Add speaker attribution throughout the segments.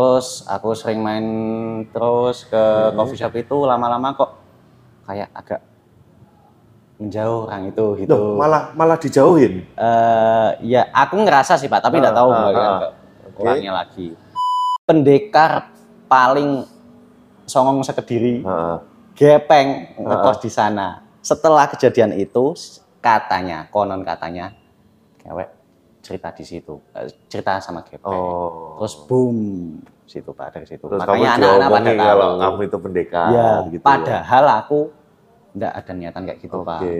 Speaker 1: Terus aku sering main terus ke
Speaker 2: Iya.
Speaker 1: coffee shop itu lama-lama kok kayak agak menjauh orang itu gitu.
Speaker 2: Loh, malah malah dijauhin.
Speaker 1: Eh, ya aku ngerasa sih Pak, tapi nggak
Speaker 2: Ah,
Speaker 1: tahu
Speaker 2: ah,
Speaker 1: bagaimana
Speaker 2: ah.
Speaker 1: ke- kurangnya lagi. Pendekar paling songong sekediri,
Speaker 2: Heeh.
Speaker 1: gepeng
Speaker 2: Ah.
Speaker 1: ngekos di sana. Setelah kejadian itu s- katanya, konon katanya, cewek cerita di situ, eh, cerita sama gepeng.
Speaker 2: Oh.
Speaker 1: Terus boom situ Pak dari situ.
Speaker 2: Terus kamu
Speaker 1: Makanya anak-anak pada
Speaker 2: diomongin
Speaker 1: tahu.
Speaker 2: kalau kamu itu pendekar
Speaker 1: ya,
Speaker 2: gitu. ya.
Speaker 1: padahal aku nggak ada niatan kayak gitu Pak.
Speaker 2: Oke.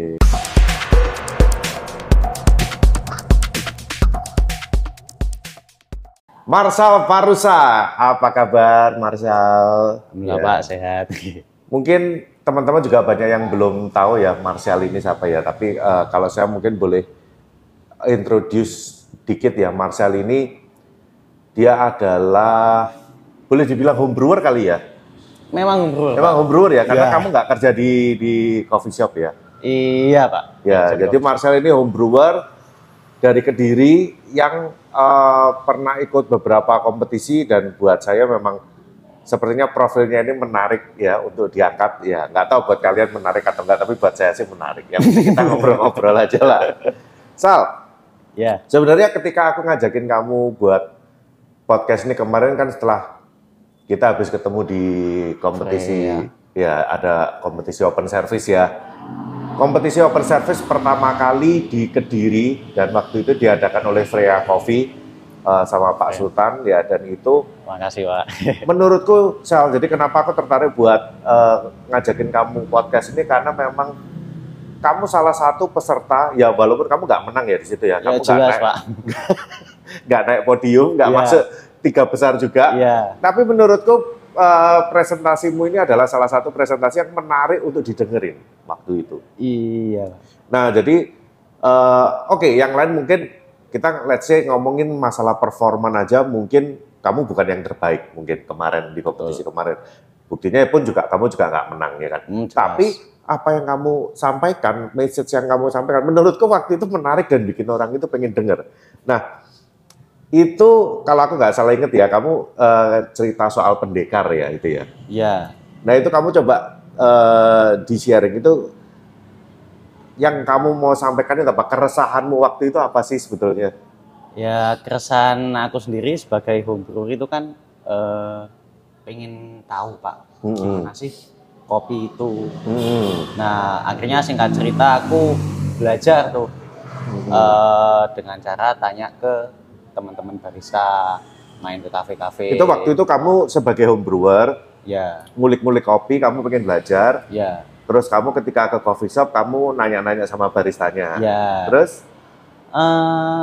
Speaker 2: Marsal Parusa, apa kabar Marsal?
Speaker 1: Alhamdulillah
Speaker 2: Ya.
Speaker 1: Pak sehat.
Speaker 2: Mungkin teman-teman juga banyak yang belum tahu ya Martial ini siapa ya. Tapi eh, kalau saya mungkin boleh introduce dikit ya Martial ini dia adalah boleh dibilang homebrewer kali ya.
Speaker 1: Memang bro.
Speaker 2: Memang homebrewer ya
Speaker 1: Ya.
Speaker 2: karena kamu nggak kerja di di coffee shop ya.
Speaker 1: Iya Pak.
Speaker 2: Ya, jadi Marcel ini homebrewer dari Kediri yang eh, pernah ikut beberapa kompetisi dan buat saya memang sepertinya profilnya ini menarik ya untuk diangkat ya. Nggak tahu buat kalian menarik atau enggak, tapi buat saya sih menarik. Yang penting kita ngobrol-ngobrol aja lah. Sal,
Speaker 1: ya.
Speaker 2: sebenarnya ketika aku ngajakin kamu buat podcast ini kemarin kan setelah kita habis ketemu di kompetisi
Speaker 1: Frey,
Speaker 2: ya ada kompetisi open service ya. Kompetisi open service pertama kali di Kediri dan waktu itu diadakan oleh Freya Coffee eh, sama Pak Sultan ya dan itu
Speaker 1: Makasih Pak.
Speaker 2: menurutku Sal jadi kenapa aku tertarik buat eh, ngajakin kamu podcast ini karena memang kamu salah satu peserta ya walaupun kamu nggak menang ya di situ ya
Speaker 1: Ya
Speaker 2: kamu nggak
Speaker 1: jelas
Speaker 2: naik,
Speaker 1: Pak.
Speaker 2: nggak naik podium nggak
Speaker 1: Iya.
Speaker 2: masuk tiga besar juga
Speaker 1: Iya.
Speaker 2: tapi menurutku eh, presentasimu ini adalah salah satu presentasi yang menarik untuk didengerin waktu itu
Speaker 1: Iya.
Speaker 2: Nah, jadi eh, oke, yang lain mungkin kita let's say ngomongin masalah performan aja mungkin kamu bukan yang terbaik mungkin kemarin di kompetisi kemarin. Buktinya pun juga kamu juga nggak menang ya kan.
Speaker 1: Hmm, jelas.
Speaker 2: Tapi apa yang kamu sampaikan, message yang kamu sampaikan menurutku waktu itu menarik dan bikin orang itu pengen denger. Nah, itu kalau aku nggak salah inget ya, kamu eh, cerita soal pendekar ya itu ya.
Speaker 1: Iya.
Speaker 2: Nah itu kamu coba eh, di sharing itu yang kamu mau sampaikan itu apa? Keresahanmu waktu itu apa sih sebetulnya?
Speaker 1: Ya keresahan aku sendiri sebagai homebrewer itu kan eh, pengen tahu Pak
Speaker 2: Mm-mm.
Speaker 1: gimana sih kopi itu.
Speaker 2: Hmm.
Speaker 1: Nah akhirnya singkat cerita aku belajar tuh eh, dengan cara tanya ke teman-teman barista, main ke kafe-kafe.
Speaker 2: Itu waktu itu kamu sebagai home brewer
Speaker 1: Ya,
Speaker 2: ngulik-ngulik kopi, kamu pengen belajar,
Speaker 1: ya,
Speaker 2: terus kamu ketika ke coffee shop kamu nanya-nanya sama baristanya.
Speaker 1: ya.
Speaker 2: Ah, Terus
Speaker 1: Eh,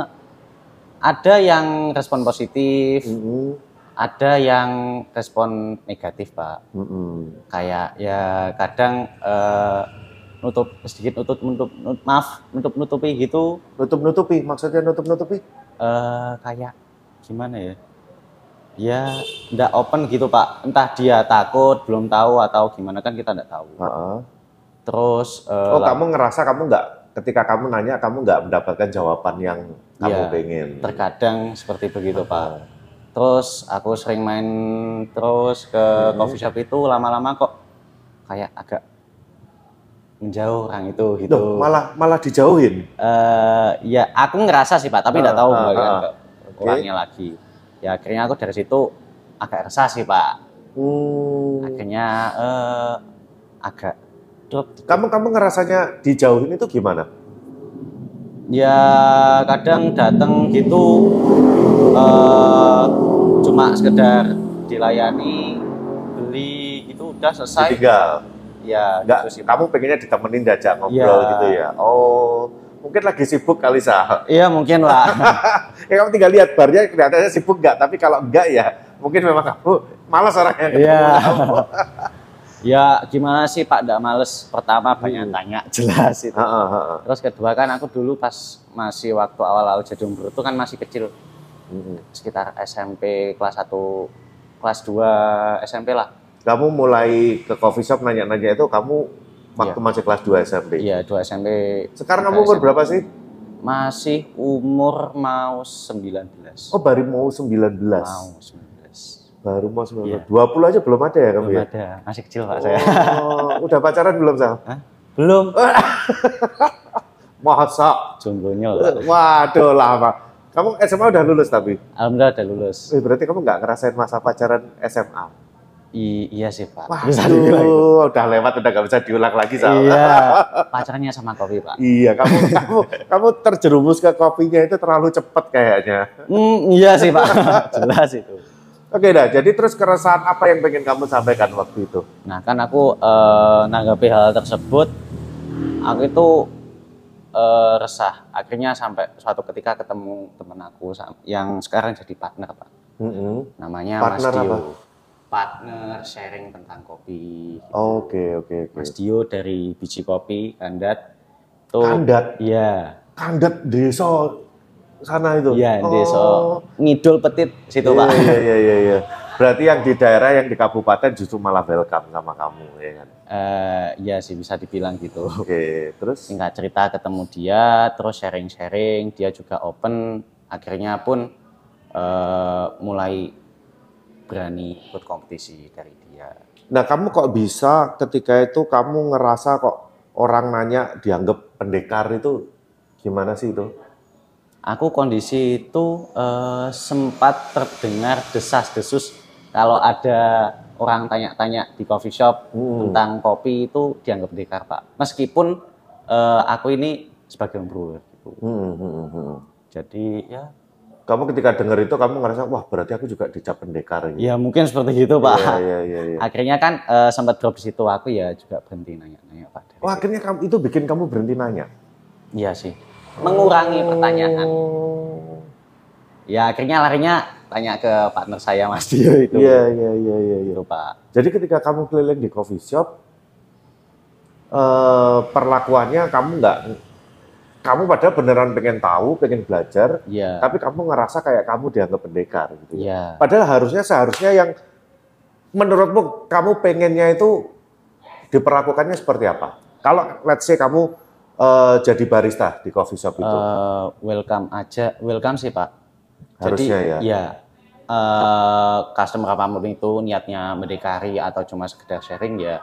Speaker 1: ada yang respon positif,
Speaker 2: Mm-mm.
Speaker 1: ada yang respon negatif pak.
Speaker 2: Mm-mm.
Speaker 1: kayak ya kadang eh, nutup sedikit nutup nutup nut- maaf nutup nutupi gitu
Speaker 2: nutup-nutupi, maksudnya nutup-nutupi?
Speaker 1: eh kayak gimana ya ya ndak open gitu pak entah dia takut belum tahu atau gimana kan kita ndak tahu
Speaker 2: Heeh.
Speaker 1: terus eh,
Speaker 2: Oh,
Speaker 1: la-
Speaker 2: kamu ngerasa kamu nggak ketika kamu nanya kamu nggak mendapatkan jawaban yang kamu
Speaker 1: Iya.
Speaker 2: pengen.
Speaker 1: terkadang seperti begitu pak terus aku sering main terus ke coffee shop itu lama-lama kok kayak agak menjauh orang itu gitu
Speaker 2: Loh, malah malah dijauhin.
Speaker 1: eh ya aku ngerasa sih pak, tapi nggak
Speaker 2: Ah,
Speaker 1: tahu
Speaker 2: ah,
Speaker 1: bagaimana
Speaker 2: ah.
Speaker 1: ke- kurangnya lagi. Ya akhirnya aku dari situ agak resah sih pak.
Speaker 2: Hmm.
Speaker 1: Akhirnya eh agak drop.
Speaker 2: Kamu kamu ngerasanya dijauhin itu gimana?
Speaker 1: Ya kadang datang gitu eh cuma sekedar dilayani beli gitu udah selesai.
Speaker 2: Ditinggal.
Speaker 1: Ya gitu
Speaker 2: Enggak,
Speaker 1: sih, Pak.
Speaker 2: kamu pengennya ditemenin diajak ngobrol
Speaker 1: Iya.
Speaker 2: gitu ya. Oh, mungkin lagi sibuk kali Sal.
Speaker 1: Iya mungkin lah.
Speaker 2: Ya kamu tinggal lihat barnya kelihatannya sibuk nggak, tapi kalau enggak ya mungkin memang kamu malas orang yang ketemu
Speaker 1: Iya.
Speaker 2: kamu.
Speaker 1: ya gimana sih pak, nggak males. Pertama banyak tanya jelas itu.
Speaker 2: Heeh, heeh.
Speaker 1: Terus kedua kan aku dulu pas masih waktu awal-awal jadi umur itu kan masih kecil
Speaker 2: Mm-mm.
Speaker 1: sekitar SMP kelas 1 kelas 2 SMP lah.
Speaker 2: Kamu mulai ke coffee shop nanya-nanya itu kamu waktu masih kelas 2 SMP.
Speaker 1: Iya, 2 SMP. tiga
Speaker 2: Sekarang kamu umur
Speaker 1: SMP.
Speaker 2: berapa sih?
Speaker 1: Masih umur mau 19.
Speaker 2: Oh, baru mau 19.
Speaker 1: Mau 19.
Speaker 2: Baru mau 19.
Speaker 1: Iya.
Speaker 2: 20 aja belum ada ya kamu
Speaker 1: Belum
Speaker 2: ya?
Speaker 1: ada, masih kecil pak saya.
Speaker 2: Oh, udah pacaran belum, Sal?
Speaker 1: Belum.
Speaker 2: Ah. Masa?
Speaker 1: Jomblonyo. Pak.
Speaker 2: Waduh, lama. Kamu SMA udah lulus tapi?
Speaker 1: Alhamdulillah udah lulus.
Speaker 2: Eh, berarti kamu nggak ngerasain masa pacaran SMA?
Speaker 1: I- iya sih pak. Bisa dibilang.
Speaker 2: Waduh, udah lewat, udah nggak bisa diulang lagi, Sal.
Speaker 1: Iya. Pacarnya sama kopi pak.
Speaker 2: Iya, kamu kamu kamu terjerumus ke kopinya itu terlalu cepat kayaknya.
Speaker 1: Hmm, iya sih pak. Jelas itu.
Speaker 2: Oke dah, jadi terus keresahan apa yang pengen kamu sampaikan waktu itu?
Speaker 1: Nah kan aku eh, nanggapi hal tersebut, aku itu eh, resah. Akhirnya sampai suatu ketika ketemu temen aku sam- yang sekarang jadi partner pak. Namanya
Speaker 2: Partner
Speaker 1: Mas Dio.
Speaker 2: apa?
Speaker 1: Partner sharing tentang kopi.
Speaker 2: Oke oke oke.
Speaker 1: Mas Dio dari biji kopi kandat. Tuh,
Speaker 2: Kandat,
Speaker 1: iya,
Speaker 2: kandat desa sana itu.
Speaker 1: iya,
Speaker 2: Oh.
Speaker 1: deso ngidul petit situ
Speaker 2: Iya,
Speaker 1: pak.
Speaker 2: Iya iya iya iya. Berarti yang di daerah yang di kabupaten justru malah welcome sama kamu ya kan.
Speaker 1: Eh, iya sih bisa dibilang gitu.
Speaker 2: Oke, terus
Speaker 1: singkat cerita ketemu dia terus sharing sharing dia juga open akhirnya pun eh, mulai berani ikut kompetisi dari dia
Speaker 2: nah kamu kok bisa ketika itu kamu ngerasa kok orang nanya dianggap pendekar itu gimana sih itu?
Speaker 1: aku kondisi itu eh, sempat terdengar desas desus kalau ada orang tanya-tanya di coffee shop
Speaker 2: Hmm.
Speaker 1: tentang kopi itu dianggap dekar pak meskipun eh, aku ini sebagai brewer gitu.
Speaker 2: Hmm, hmm, hmm.
Speaker 1: jadi ya
Speaker 2: Kamu ketika denger itu kamu ngerasa wah berarti aku juga dicap pendekar gitu.
Speaker 1: ya mungkin seperti gitu pak
Speaker 2: Iya iya iya.
Speaker 1: akhirnya kan eh, sempat drop di situ aku ya juga berhenti nanya-nanya pak Dari-
Speaker 2: Wah, Oh, akhirnya kamu itu bikin kamu berhenti nanya.
Speaker 1: iya sih mengurangi pertanyaan
Speaker 2: Oh.
Speaker 1: ya akhirnya larinya tanya ke partner saya mas Dio itu
Speaker 2: Iya iya iya iya iya.
Speaker 1: Itu, pak
Speaker 2: Jadi ketika kamu keliling di coffee shop eh, perlakuannya kamu nggak kamu padahal beneran pengen tahu, pengen belajar,
Speaker 1: iya
Speaker 2: tapi kamu ngerasa kayak kamu dianggap pendekar gitu ya.
Speaker 1: iya
Speaker 2: Padahal harusnya seharusnya yang menurutmu kamu pengennya itu diperlakukannya seperti apa? Kalau let's say kamu eh, jadi barista di coffee shop itu,
Speaker 1: Eh, welcome aja welcome sih pak
Speaker 2: harusnya ya.
Speaker 1: iya eh, customer apapun itu niatnya mendekari atau cuma sekedar sharing ya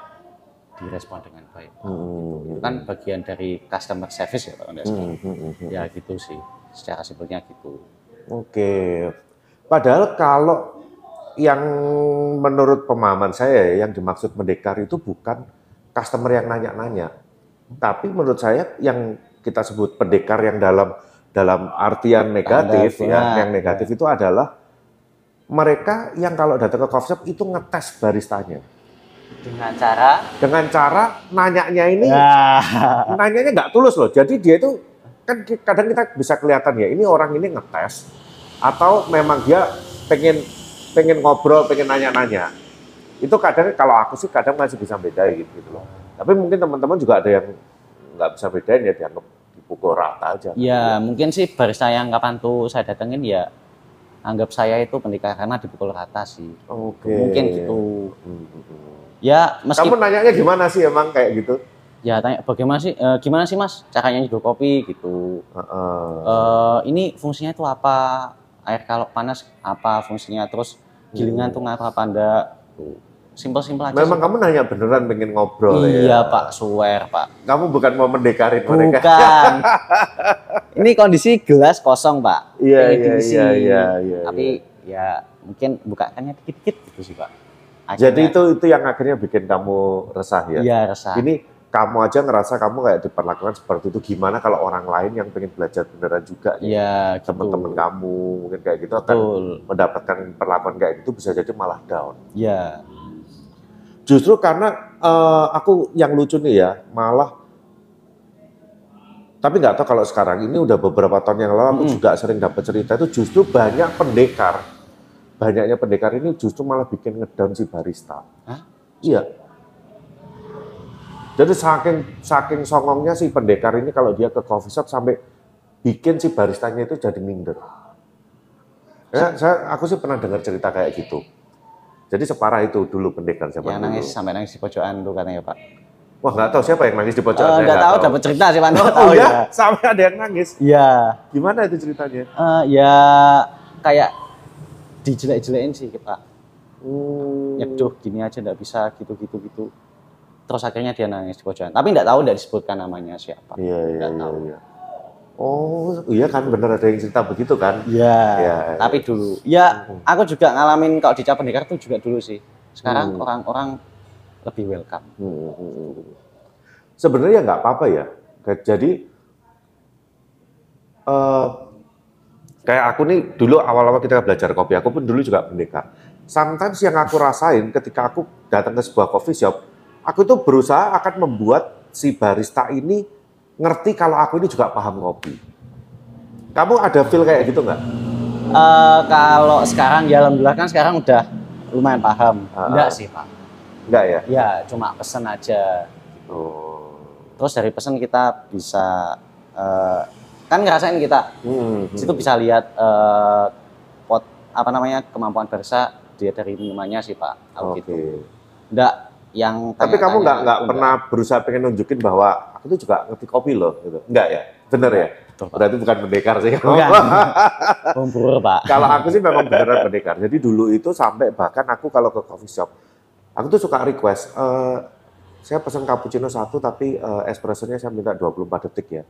Speaker 1: direspon dengan baik
Speaker 2: Hmm,
Speaker 1: itu kan bagian dari customer service ya pak kalau nggak salah.
Speaker 2: hmm, hmm, hmm, hmm.
Speaker 1: ya gitu sih secara simpelnya gitu
Speaker 2: Oke. Padahal kalau yang menurut pemahaman saya ya, yang dimaksud mendekar itu bukan customer yang nanya-nanya. Tapi menurut saya yang kita sebut pendekar yang dalam dalam artian negatif
Speaker 1: Tanda
Speaker 2: ya,
Speaker 1: bunga.
Speaker 2: yang negatif itu adalah mereka yang kalau datang ke coffee shop itu ngetes baristanya
Speaker 1: dengan cara
Speaker 2: dengan cara nanyanya ini Ah.
Speaker 1: Ya.
Speaker 2: nanyanya nggak tulus loh. Jadi dia itu kan ki- kadang kita bisa kelihatan ya ini orang ini ngetes atau memang dia pengen pengen ngobrol, pengen nanya-nanya. Itu kadang kalau aku sih kadang masih bisa bedain gitu loh. Tapi mungkin teman-teman juga ada yang nggak bisa bedain ya dianggap dipukul rata aja.
Speaker 1: Ya, mungkin sih barista yang kapan tuh saya datengin ya anggap saya itu pendekar karena dipukul rata sih.
Speaker 2: Oke.
Speaker 1: Mungkin gitu.
Speaker 2: Hmm, hmm, hmm.
Speaker 1: Ya, meskipun
Speaker 2: Kamu nanyanya gimana sih emang kayak gitu?
Speaker 1: ya tanya bagaimana sih eh, gimana sih Mas caranya nyeduh kopi gitu.
Speaker 2: Heeh.
Speaker 1: Eh, ini fungsinya itu apa? Air kalau panas apa fungsinya? Terus gilingan tuh ngaruh apa enggak? Tuh. Simpel-simpel aja.
Speaker 2: Memang
Speaker 1: sih.
Speaker 2: kamu nanya beneran pengen ngobrol
Speaker 1: Iya,
Speaker 2: ya?
Speaker 1: Pak, swear, Pak.
Speaker 2: Kamu bukan mau mendekarin mereka.
Speaker 1: Bukan. ini kondisi gelas kosong, Pak.
Speaker 2: Iya
Speaker 1: Pengen
Speaker 2: iya
Speaker 1: diisi.
Speaker 2: iya iya. iya.
Speaker 1: tapi ya mungkin bukaannya dikit-dikit gitu sih pak.
Speaker 2: Jadi itu itu yang akhirnya bikin kamu resah ya.
Speaker 1: ya resah.
Speaker 2: Ini kamu aja ngerasa kamu kayak diperlakukan seperti itu. Gimana kalau orang lain yang pengen belajar beneran juga ya?
Speaker 1: ya gitu.
Speaker 2: Teman-teman kamu mungkin kayak gitu akan
Speaker 1: Betul.
Speaker 2: mendapatkan perlakuan kayak gitu bisa jadi malah down.
Speaker 1: Ya.
Speaker 2: Justru karena eh, aku yang lucu nih ya, malah tapi nggak tahu kalau sekarang ini udah beberapa tahun yang lalu aku
Speaker 1: Mm-mm.
Speaker 2: juga sering dapat cerita itu justru banyak pendekar, banyaknya pendekar ini justru malah bikin ngedown si barista.
Speaker 1: Hah?
Speaker 2: Iya. Jadi saking saking songongnya si pendekar ini kalau dia ke coffee shop sampai bikin si baristanya itu jadi minder. Ya, saya aku sih pernah dengar cerita kayak gitu. Jadi separah itu dulu pendekar
Speaker 1: Yang
Speaker 2: zaman dulu.
Speaker 1: Ya, nangis sampai nangis di pojokan tuh katanya pak.
Speaker 2: Wah nggak tahu siapa yang nangis di
Speaker 1: Eh,
Speaker 2: pojokan. saya
Speaker 1: nggak tahu dapat cerita sih pak.
Speaker 2: Oh,
Speaker 1: Nggak tahu
Speaker 2: ya?
Speaker 1: ya.
Speaker 2: sampai ada yang nangis.
Speaker 1: Ya.
Speaker 2: Gimana itu ceritanya?
Speaker 1: Eh, ya kayak dijelek-jelekin sih pak.
Speaker 2: Hmm.
Speaker 1: nyeduh gini aja nggak bisa gitu gitu gitu terus akhirnya dia nangis di pojokan tapi nggak tahu nggak disebutkan namanya siapa
Speaker 2: Iya, iya,
Speaker 1: Nggak
Speaker 2: iya,
Speaker 1: tahu.
Speaker 2: iya. Oh, iya kan bener ada yang cerita begitu kan?
Speaker 1: Iya.
Speaker 2: Iya,
Speaker 1: tapi dulu ya
Speaker 2: Hmm.
Speaker 1: aku juga ngalamin kalau di Capendekar tuh juga dulu sih sekarang
Speaker 2: Hmm.
Speaker 1: orang-orang lebih welcome
Speaker 2: Hmm, hmm, hmm. Sebenarnya nggak apa-apa ya. Ke- Jadi eh, kayak aku nih dulu awal-awal kita belajar kopi, aku pun dulu juga pendekar. Sometimes yang aku rasain ketika aku datang ke sebuah coffee shop, aku tuh berusaha akan membuat si barista ini ngerti kalau aku ini juga paham kopi. Kamu ada feel kayak gitu nggak?
Speaker 1: Eh, kalau sekarang ya alhamdulillah kan sekarang udah lumayan paham
Speaker 2: Ah.
Speaker 1: enggak sih pak
Speaker 2: Nggak ya?
Speaker 1: ya cuma pesen aja
Speaker 2: Oh.
Speaker 1: terus dari pesen kita bisa eh, kan ngerasain kita
Speaker 2: Hmm, hmm.
Speaker 1: Di situ bisa lihat eh, pot apa namanya kemampuan Barca dia dari minumannya sih pak aku
Speaker 2: hmm. Oke.
Speaker 1: gitu enggak yang
Speaker 2: Tapi
Speaker 1: tanya-tanya
Speaker 2: kamu nggak nggak
Speaker 1: enggak.
Speaker 2: pernah berusaha pengen nunjukin bahwa aku tuh juga ngerti kopi loh, gitu. Nggak ya? Bener ya?
Speaker 1: Betul, Pak.
Speaker 2: Berarti bukan pendekar sih.
Speaker 1: Bukan. Pemburu, Pak.
Speaker 2: kalau aku sih memang beneran pendekar. Jadi dulu itu sampai bahkan aku kalau ke coffee shop, aku tuh suka request, eh saya pesan cappuccino satu tapi eh, espressonya saya minta 24 detik ya.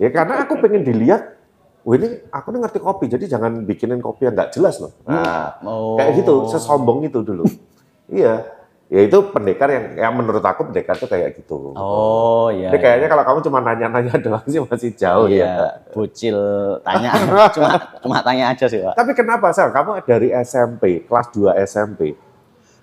Speaker 2: ya karena aku pengen dilihat, wah ini aku nih ngerti kopi, jadi jangan bikinin kopi yang nggak jelas loh. Nah,
Speaker 1: Oh.
Speaker 2: kayak gitu sesombong itu dulu iya ya itu pendekar yang yang menurut aku pendekar tuh kayak gitu
Speaker 1: Oh, iya.
Speaker 2: jadi kayaknya kalau kamu cuma nanya-nanya doang sih masih jauh
Speaker 1: iya,
Speaker 2: ya
Speaker 1: bocil tanya. cuma cuma tanya aja sih, Pak.
Speaker 2: tapi kenapa sel kamu dari SMP kelas 2 SMP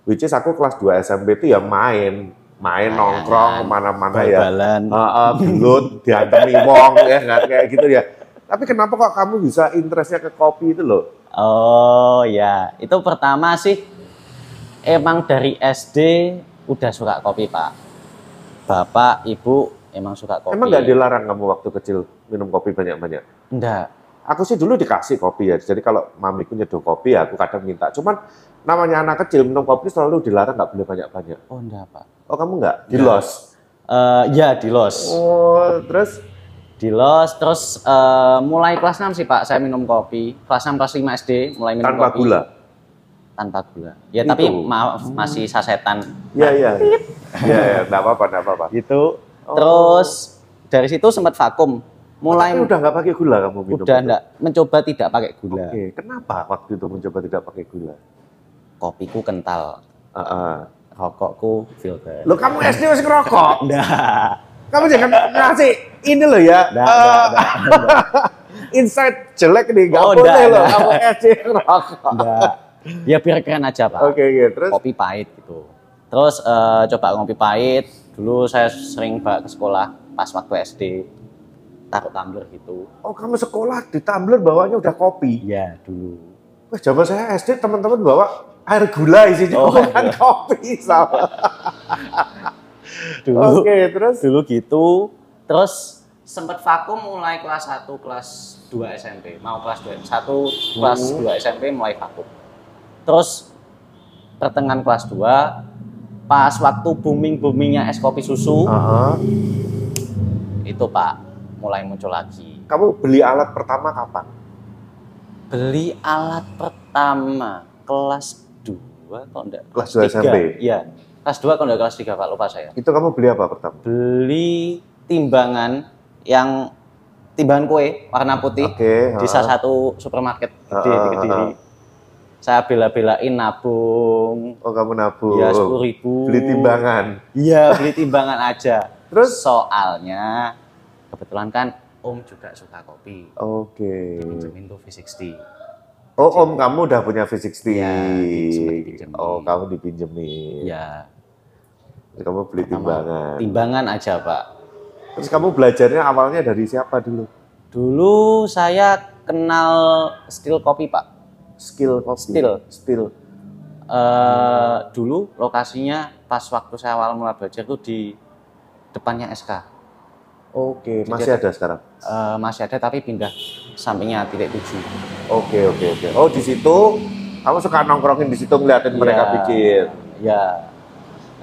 Speaker 2: which is aku kelas 2 SMP itu ya main main
Speaker 1: Main.
Speaker 2: nongkrong kemana-mana ya
Speaker 1: Bal-balan.
Speaker 2: Heeh, gelut, diantem imong ya kan kayak gitu ya tapi kenapa kok kamu bisa interestnya ke kopi itu loh
Speaker 1: Oh, iya. Itu pertama sih emang dari SD udah suka kopi, Pak. Bapak, Ibu emang suka kopi. ya.
Speaker 2: emang nggak dilarang kamu waktu kecil minum kopi banyak-banyak
Speaker 1: Enggak.
Speaker 2: aku sih dulu dikasih kopi ya. Jadi kalau mamiku nyeduh kopi ya aku kadang minta. Cuman namanya anak kecil minum kopi selalu dilarang nggak boleh banyak-banyak.
Speaker 1: Oh, enggak, Pak.
Speaker 2: Oh kamu nggak? Di
Speaker 1: Nggak.
Speaker 2: los.
Speaker 1: Eh, ya di los.
Speaker 2: Oh terus?
Speaker 1: Di los terus eh, mulai kelas 6 sih, Pak, saya minum kopi. Kelas 6 kelas 5 SD mulai minum
Speaker 2: Tanpa
Speaker 1: kopi.
Speaker 2: gula. Gitu.
Speaker 1: tanpa gula. Ya
Speaker 2: Itu.
Speaker 1: tapi maaf masih sasetan
Speaker 2: Iya iya. Iya iya. Nggak apa-apa nggak apa-apa.
Speaker 1: gitu.
Speaker 2: Oh.
Speaker 1: Terus dari situ sempat vakum. Mulai
Speaker 2: Tapi udah nggak pakai gula kamu minum.
Speaker 1: udah
Speaker 2: itu?
Speaker 1: enggak mencoba tidak pakai
Speaker 2: Oke.
Speaker 1: gula.
Speaker 2: Kenapa waktu itu mencoba tidak pakai gula?
Speaker 1: Kopiku kental,
Speaker 2: Heeh.
Speaker 1: rokokku filter.
Speaker 2: Lo kamu SD masih ngerokok?
Speaker 1: Enggak.
Speaker 2: Kamu jangan ngasih ini loh ya.
Speaker 1: Enggak,
Speaker 2: eh,
Speaker 1: enggak, enggak, enggak,
Speaker 2: insight jelek nih, nggak
Speaker 1: Oh,
Speaker 2: boleh
Speaker 1: nggak,
Speaker 2: loh
Speaker 1: nggak.
Speaker 2: kamu SD ngerokok.
Speaker 1: enggak. Ya biar keren aja, Pak.
Speaker 2: Oke, oke. Terus
Speaker 1: Kopi pahit gitu. Terus eh, coba kopi pahit. Dulu saya sering Pak ke sekolah pas waktu SD taruh tumbler gitu.
Speaker 2: Oh kamu sekolah di tumbler bawanya udah kopi.
Speaker 1: Iya, dulu.
Speaker 2: Wah zaman saya SD teman-teman bawa air gula isinya
Speaker 1: Oh,
Speaker 2: bukan kopi sama.
Speaker 1: Dulu.
Speaker 2: Oke terus.
Speaker 1: dulu gitu terus sempat vakum mulai kelas 1 kelas 2 SMP mau kelas 2 1 kelas
Speaker 2: Hmm.
Speaker 1: 2 SMP mulai vakum terus pertengahan kelas 2 pas waktu booming boomingnya es kopi susu
Speaker 2: Aha.
Speaker 1: itu pak mulai muncul lagi
Speaker 2: Kamu beli alat pertama kapan?
Speaker 1: beli alat pertama kelas 2 kalau enggak
Speaker 2: Kelas 2
Speaker 1: tiga.
Speaker 2: SMP.
Speaker 1: iya kelas 2 kalau enggak kelas 3 pak lupa saya
Speaker 2: Itu kamu beli apa pertama?
Speaker 1: beli timbangan yang timbangan kue warna putih
Speaker 2: Oke.
Speaker 1: di
Speaker 2: ha.
Speaker 1: salah satu supermarket gede
Speaker 2: Ah,
Speaker 1: di
Speaker 2: ah,
Speaker 1: Kediri.
Speaker 2: ah.
Speaker 1: Saya bela-belain nabung,
Speaker 2: Oh kamu nabung.
Speaker 1: ya sepuluh ribu.
Speaker 2: Beli timbangan.
Speaker 1: Iya, beli timbangan aja.
Speaker 2: Terus?
Speaker 1: soalnya kebetulan kan Om juga suka kopi.
Speaker 2: Oke.
Speaker 1: Pinjemin tuh V60.
Speaker 2: Oh om kamu udah punya V60.
Speaker 1: Iya, sempet dipinjemin.
Speaker 2: oh kamu dipinjemin.
Speaker 1: Ya,
Speaker 2: Terus Kamu beli
Speaker 1: pertama Iya.
Speaker 2: timbangan.
Speaker 1: Ya, timbangan aja pak.
Speaker 2: Terus kamu belajarnya awalnya dari siapa dulu?
Speaker 1: Dulu saya kenal steel kopi pak.
Speaker 2: Skill kopi.
Speaker 1: Skill.
Speaker 2: Skill.
Speaker 1: Eh, dulu lokasinya pas waktu saya awal mulai belajar tuh di depannya SK.
Speaker 2: Oke, masih ada sekarang.
Speaker 1: Eh, masih ada tapi pindah sampingnya titik tujuh.
Speaker 2: Oke, oke, oke. Oh, di situ kamu suka nongkrongin di situ ngeliatin mereka
Speaker 1: Iya.
Speaker 2: bikin.
Speaker 1: Ya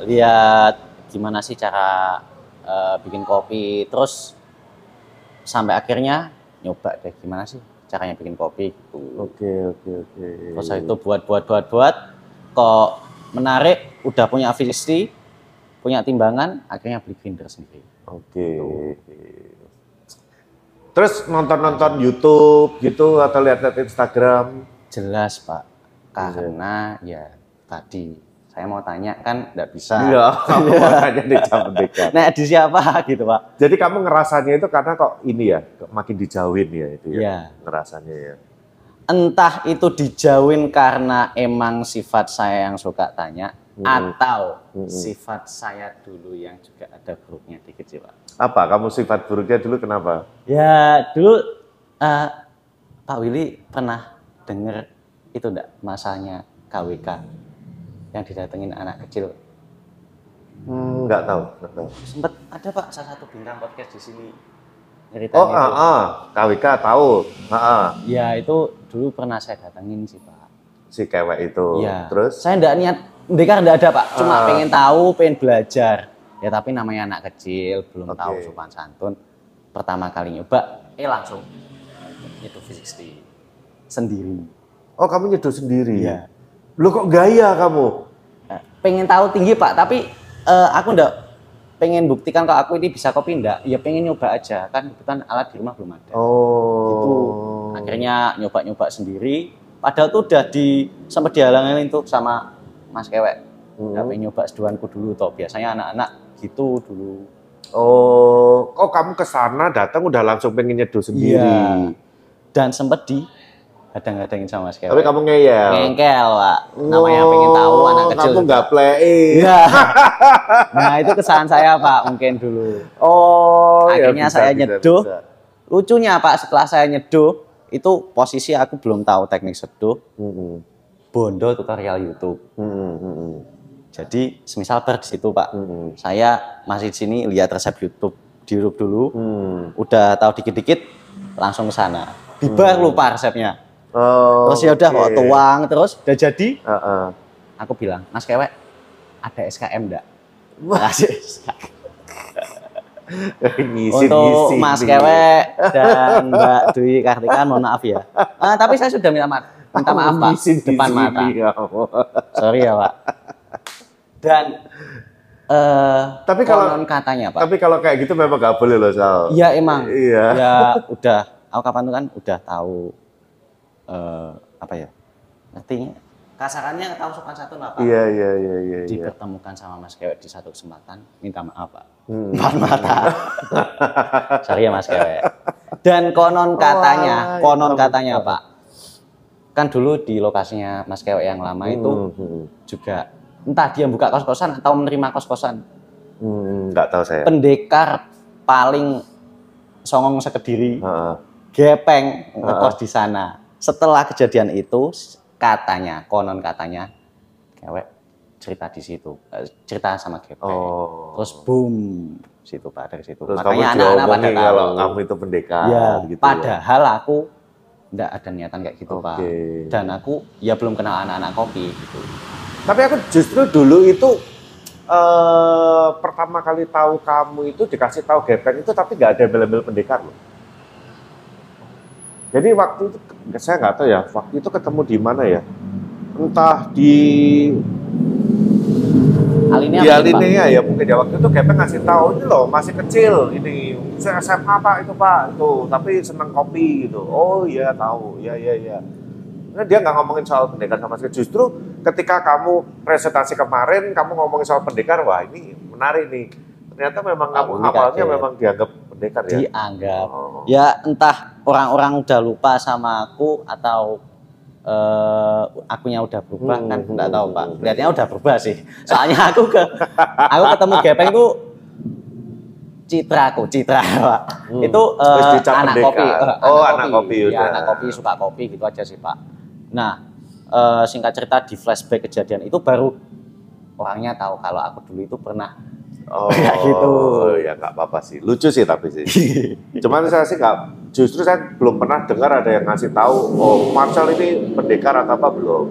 Speaker 1: lihat gimana sih cara eh, bikin kopi, terus sampai akhirnya nyoba deh gimana sih caranya bikin kopi gitu.
Speaker 2: Oke, oke, oke.
Speaker 1: Terus saya itu buat buat buat buat kok menarik udah punya visi, punya timbangan, akhirnya beli grinder sendiri.
Speaker 2: Oke. Terus nonton-nonton YouTube gitu atau lihat-lihat Instagram?
Speaker 1: Jelas Pak, karena ya tadi saya mau tanya kan nggak bisa.
Speaker 2: Iya, aku mau tanya nih jam merdeka.
Speaker 1: Nah, di siapa gitu Pak?
Speaker 2: Jadi kamu ngerasanya itu karena kok ini ya, kok makin dijauhin ya itu ya.
Speaker 1: Iya.
Speaker 2: Ngerasanya ya.
Speaker 1: entah itu dijauhin karena emang sifat saya yang suka tanya atau sifat saya dulu yang juga ada buruknya dikit sih pak
Speaker 2: Apa kamu sifat buruknya dulu kenapa?
Speaker 1: ya dulu eh, Pak Willy pernah denger itu enggak masanya KWK yang didatengin anak kecil
Speaker 2: Hmm, nggak tahu, nggak tahu.
Speaker 1: sempet ada pak salah satu bintang podcast di sini
Speaker 2: Oh,
Speaker 1: ceritanya
Speaker 2: ah, ah, KWK tahu. Ah, ah,
Speaker 1: ya itu dulu pernah saya datengin sih pak
Speaker 2: si kewek itu.
Speaker 1: Iya.
Speaker 2: Terus
Speaker 1: Saya enggak niat, Dekar enggak ada Pak, cuma
Speaker 2: Ah.
Speaker 1: pengen tahu, pengen belajar. Ya tapi namanya anak kecil, belum
Speaker 2: Oke.
Speaker 1: tahu sopan santun. Pertama kali nyoba, eh langsung itu fisik sendiri.
Speaker 2: Oh kamu nyeduh sendiri?
Speaker 1: Iya.
Speaker 2: Lu kok gaya kamu?
Speaker 1: Eh, Pengen tahu tinggi Pak, tapi eh, aku enggak pengen buktikan kalau aku ini bisa kopi enggak. Ya pengen nyoba aja, kan kebetulan alat di rumah belum ada. Gitu.
Speaker 2: Oh.
Speaker 1: Akhirnya nyoba-nyoba sendiri, padahal tuh udah di sempat dihalangin tuh sama Mas Kewek.
Speaker 2: Oh.
Speaker 1: Nggak pengen nyoba seduanku dulu toh. Biasanya anak-anak gitu dulu.
Speaker 2: Oh, kok kamu ke sana datang udah langsung pengen nyeduh sendiri.
Speaker 1: Iya. Dan sempat di hadang-hadangin sama Mas Kewek.
Speaker 2: Tapi kamu ngeyel.
Speaker 1: Ngengkel, Pak. Iya. Namanya
Speaker 2: Oh,
Speaker 1: pengen tahu anak kecil.
Speaker 2: Kamu nggak play.
Speaker 1: Iya. nah, itu kesan saya, Pak, mungkin dulu.
Speaker 2: Oh, ya
Speaker 1: Akhirnya
Speaker 2: bisa,
Speaker 1: saya
Speaker 2: bisa,
Speaker 1: nyeduh.
Speaker 2: bisa.
Speaker 1: Lucunya, Pak, setelah saya nyeduh, itu posisi aku belum tahu teknik seduh.
Speaker 2: Mm-mm,
Speaker 1: Bondo tutorial YouTube.
Speaker 2: mm-mm, mm-mm,
Speaker 1: Jadi, semisal per di situ, Pak.
Speaker 2: mm-mm,
Speaker 1: Saya masih di sini lihat resep YouTube di YouTube dulu.
Speaker 2: mm.
Speaker 1: Udah tahu dikit-dikit, langsung ke sana. Tiba lupa resepnya.
Speaker 2: Oh,
Speaker 1: terus ya udah
Speaker 2: oke.
Speaker 1: kok tuang terus udah jadi
Speaker 2: Heeh.
Speaker 1: aku bilang mas kewek ada SKM enggak Kasih SKM.
Speaker 2: Ngisi-ngisi
Speaker 1: untuk Mas
Speaker 2: nih.
Speaker 1: Kewek dan Mbak Dwi Kartika mohon maaf ya. Eh, tapi saya sudah minta maaf, minta
Speaker 2: Kamu
Speaker 1: maaf Pak
Speaker 2: ngisi-ngisi
Speaker 1: depan mata.
Speaker 2: nih kamu.
Speaker 1: Sorry ya Pak. Dan eh
Speaker 2: Tapi kalau-
Speaker 1: konon katanya Pak,
Speaker 2: Tapi kalau kayak gitu memang nggak boleh loh Sal.
Speaker 1: Iya emang.
Speaker 2: Iya.
Speaker 1: Ya udah. Aku kapan tuh kan udah tahu eh apa ya? Artinya kasarannya tahu sopan satu lah Pak.
Speaker 2: Iya iya iya iya. iya.
Speaker 1: Dipertemukan sama Mas Kewek di satu kesempatan, minta maaf Pak.
Speaker 2: Hmm.
Speaker 1: Empat mata. Sorry ya Mas Kewek. Dan konon katanya,
Speaker 2: alah,
Speaker 1: konon
Speaker 2: ya ampun.
Speaker 1: katanya Pak. Kan dulu di lokasinya Mas Kewek yang lama itu
Speaker 2: Hmm,
Speaker 1: juga entah dia buka kos-kosan atau menerima kos-kosan.
Speaker 2: hmm, nggak tahu saya.
Speaker 1: Pendekar paling songong sekediri.
Speaker 2: Heeh.
Speaker 1: gepeng
Speaker 2: Ah.
Speaker 1: ngekos di sana. Setelah kejadian itu katanya, konon katanya, cewek cerita di situ, eh, cerita sama gepeng.
Speaker 2: Oh.
Speaker 1: Terus boom situ pak dari situ.
Speaker 2: Terus kamu
Speaker 1: Makanya anak-anak pada
Speaker 2: diomongin
Speaker 1: tahu.
Speaker 2: kalau kamu itu pendekar
Speaker 1: ya,
Speaker 2: gitu.
Speaker 1: padahal aku enggak ada niatan kayak gitu pak.
Speaker 2: Oke.
Speaker 1: Dan aku ya belum kenal anak-anak kopi gitu.
Speaker 2: Tapi aku justru dulu itu eh pertama kali tahu kamu itu dikasih tahu gepeng itu tapi nggak ada bel-bel pendekar loh. Jadi waktu itu saya nggak tahu ya, waktu itu ketemu di mana ya? Entah di
Speaker 1: Alinea
Speaker 2: di
Speaker 1: apa nih, Pak?
Speaker 2: Alinea ya mungkin ya waktu itu gepeng ngasih tahu ini loh masih kecil ini saya SMA pak itu pak itu tapi seneng kopi gitu oh iya tahu ya ya ya Nah, dia nggak ngomongin soal pendekar sama sekali. Justru ketika kamu presentasi kemarin, kamu ngomongin soal pendekar, wah ini menarik nih. Ternyata memang kamu
Speaker 1: Aku ini
Speaker 2: awalnya
Speaker 1: kaget.
Speaker 2: memang dianggap pendekar
Speaker 1: Iya.
Speaker 2: ya.
Speaker 1: Dianggap
Speaker 2: Oh.
Speaker 1: ya entah orang-orang udah lupa sama aku atau eh akunya udah berubah
Speaker 2: Hmm,
Speaker 1: kan
Speaker 2: hmm,
Speaker 1: nggak tahu
Speaker 2: hmm,
Speaker 1: pak
Speaker 2: hmm.
Speaker 1: kelihatannya udah berubah sih soalnya aku ke aku ketemu gepeng tuh citraku citra pak
Speaker 2: Hmm.
Speaker 1: itu eh,
Speaker 2: Terus dicap
Speaker 1: anak
Speaker 2: pendekar.
Speaker 1: kopi eh,
Speaker 2: Oh, anak kopi,
Speaker 1: Iya,
Speaker 2: udah.
Speaker 1: anak kopi suka kopi gitu aja sih pak nah eh, singkat cerita di flashback kejadian itu baru orangnya tahu kalau aku dulu itu pernah
Speaker 2: Oh,
Speaker 1: Kayak gitu.
Speaker 2: Ya nggak apa-apa sih. Lucu sih tapi sih. Gitu. Cuman saya sih nggak. Justru saya belum pernah dengar ada yang ngasih tahu. Oh, Marcel ini pendekar atau apa belum?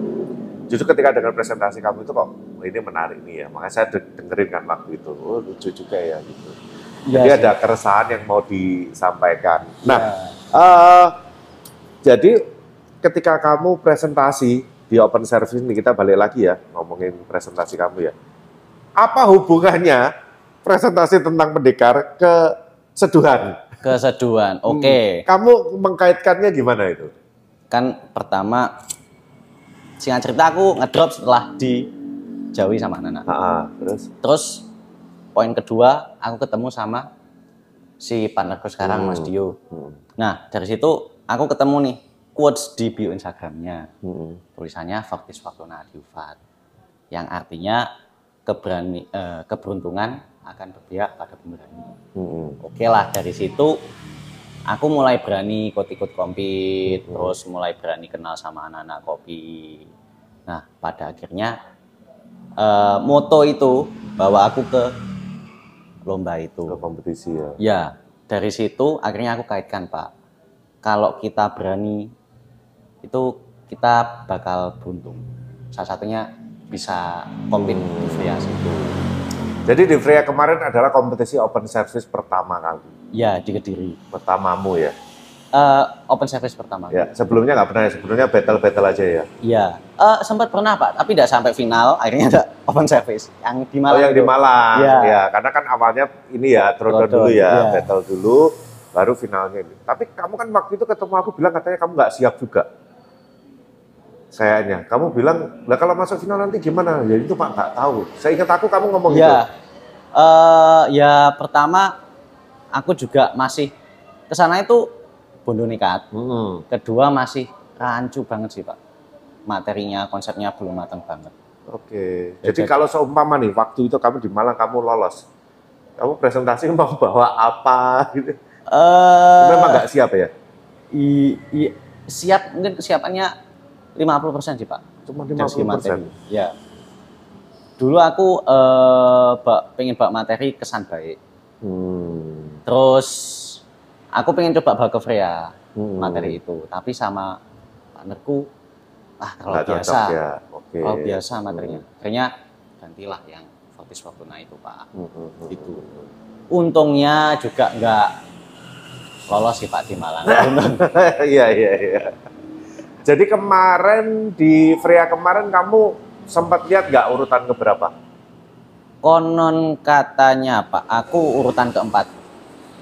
Speaker 2: Justru ketika dengar presentasi kamu itu kok "Wah, ini menarik nih ya. Makanya saya de- dengerin kan waktu itu. Oh, lucu juga ya gitu.
Speaker 1: Iya
Speaker 2: Jadi
Speaker 1: sih. Iya.
Speaker 2: ada keresahan yang mau disampaikan. Nah,
Speaker 1: Ya.
Speaker 2: eh, Jadi ketika kamu presentasi di open service ini kita balik lagi ya ngomongin presentasi kamu ya. Apa hubungannya presentasi tentang pendekar ke seduhan?
Speaker 1: Keseduhan. Oke.
Speaker 2: Hmm. Kamu mengkaitkannya gimana itu?
Speaker 1: Kan pertama singkat cerita aku ngedrop setelah di Jawi sama Nana.
Speaker 2: Ah, ah, terus
Speaker 1: Terus poin kedua aku ketemu sama si partnerku sekarang
Speaker 2: Hmm.
Speaker 1: Mas Dio.
Speaker 2: Hmm.
Speaker 1: Nah dari situ aku ketemu nih quotes di bio Instagramnya
Speaker 2: Hmm.
Speaker 1: tulisannya Faktis Faktona Adiufat yang artinya keberani eh, keberuntungan akan berpihak pada pemberani.
Speaker 2: Hmm.
Speaker 1: Oke lah dari situ aku mulai berani ikut-ikut kompit, terus mulai berani kenal sama anak-anak kopi. Nah pada akhirnya eh, moto itu bawa aku ke lomba itu.
Speaker 2: Ke kompetisi ya.
Speaker 1: Ya, dari situ akhirnya aku kaitkan, Pak. Kalau kita berani, itu kita bakal beruntung. Salah satunya bisa kompet di Frias itu.
Speaker 2: Jadi di Freya kemarin adalah kompetisi open service pertama kali,
Speaker 1: Ya, di Kediri.
Speaker 2: pertamamu ya.
Speaker 1: Eh, open service pertama.
Speaker 2: Ya, sebelumnya nggak pernah ya, sebelumnya battle-battle aja ya.
Speaker 1: Ya. Eh, sempat pernah, Pak, tapi tidak sampai final. Akhirnya ada open service. Yang di Malang.
Speaker 2: oh, yang di
Speaker 1: itu.
Speaker 2: Malang.
Speaker 1: Iya.
Speaker 2: Ya, karena kan awalnya ini ya,
Speaker 1: Throwdown,
Speaker 2: throwdown dulu ya,
Speaker 1: iya.
Speaker 2: battle dulu, baru finalnya ini. Tapi kamu kan waktu itu ketemu aku bilang katanya kamu nggak siap juga. Kayaknya. Kamu bilang, lah kalau masuk final nanti gimana? Ya itu Pak nggak tahu. Saya ingat aku kamu ngomong
Speaker 1: ya.
Speaker 2: gitu.
Speaker 1: Eh, ya, pertama, aku juga masih... Kesana itu bondo nekat.
Speaker 2: Mm-mm.
Speaker 1: kedua masih rancu banget sih pak materinya konsepnya belum matang banget
Speaker 2: Oke.
Speaker 1: Ya,
Speaker 2: Jadi
Speaker 1: jadi-
Speaker 2: kalau seumpama nih waktu itu kamu di Malang kamu lolos. Kamu presentasi mau bawa apa gitu.
Speaker 1: eh
Speaker 2: Memang nggak siap ya?
Speaker 1: i- i- siap mungkin kesiapannya 50% sih pak
Speaker 2: Cuma
Speaker 1: dari segi
Speaker 2: 50%.
Speaker 1: ya dulu aku eh bak, pengen bak materi kesan baik
Speaker 2: Hmm.
Speaker 1: terus aku pengen coba bak ke Freya
Speaker 2: Hmm.
Speaker 1: materi itu tapi sama partnerku ah kalau
Speaker 2: Nggak
Speaker 1: biasa
Speaker 2: cocok ya. Hmm. Oke.
Speaker 1: kalau biasa materinya akhirnya gantilah yang fokus waktu itu pak
Speaker 2: Hmm, hmm, hmm.
Speaker 1: itu untungnya juga nggak lolos sih Pak di Malang
Speaker 2: Iya iya iya. Jadi kemarin di Freya kemarin kamu sempat lihat nggak urutan keberapa?
Speaker 1: konon katanya Pak aku urutan keempat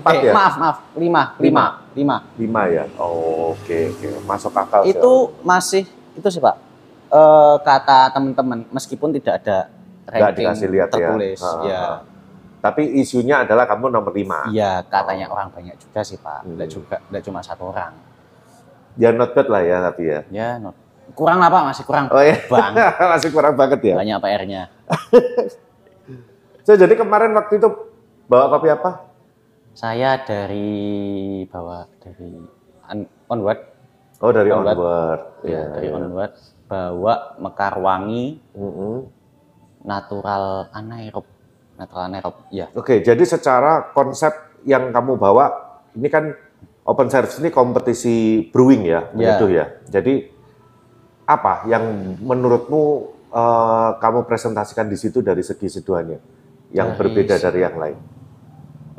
Speaker 2: Empat
Speaker 1: Eh,
Speaker 2: ya?
Speaker 1: maaf maaf lima lima lima
Speaker 2: Lima ya. Oh, oke oke masuk akal. sih.
Speaker 1: itu masih itu sih Pak eh, kata teman-teman meskipun tidak ada
Speaker 2: nggak
Speaker 1: ranking
Speaker 2: dikasih lihat ya.
Speaker 1: tertulis
Speaker 2: Ha, ha,
Speaker 1: ya
Speaker 2: ha. Tapi isunya adalah kamu nomor lima.
Speaker 1: iya katanya orang banyak juga sih Pak
Speaker 2: Oh. Hmm.
Speaker 1: tidak juga tidak cuma satu orang
Speaker 2: Ya not bad lah ya tapi ya.
Speaker 1: ya no- kurang lah Pak masih kurang
Speaker 2: Oh ya.
Speaker 1: Bang.
Speaker 2: Masih kurang banget ya.
Speaker 1: banyak PR-nya
Speaker 2: So, jadi kemarin waktu itu bawa kopi apa?
Speaker 1: Saya dari bawah dari an- onward,
Speaker 2: Oh dari
Speaker 1: Onward.
Speaker 2: onward.
Speaker 1: ya, dari
Speaker 2: ya.
Speaker 1: onward bawa Mekarwangi
Speaker 2: Mm-mm.
Speaker 1: natural anaerob, natural anaerob. Ya,
Speaker 2: Oke, jadi secara konsep yang kamu bawa, ini kan open service ini kompetisi brewing ya,
Speaker 1: Ya.
Speaker 2: menyeduh ya. Jadi apa yang menurutmu eh, kamu presentasikan di situ dari segi seduhannya
Speaker 1: Dari
Speaker 2: yang berbeda
Speaker 1: se-
Speaker 2: dari yang lain?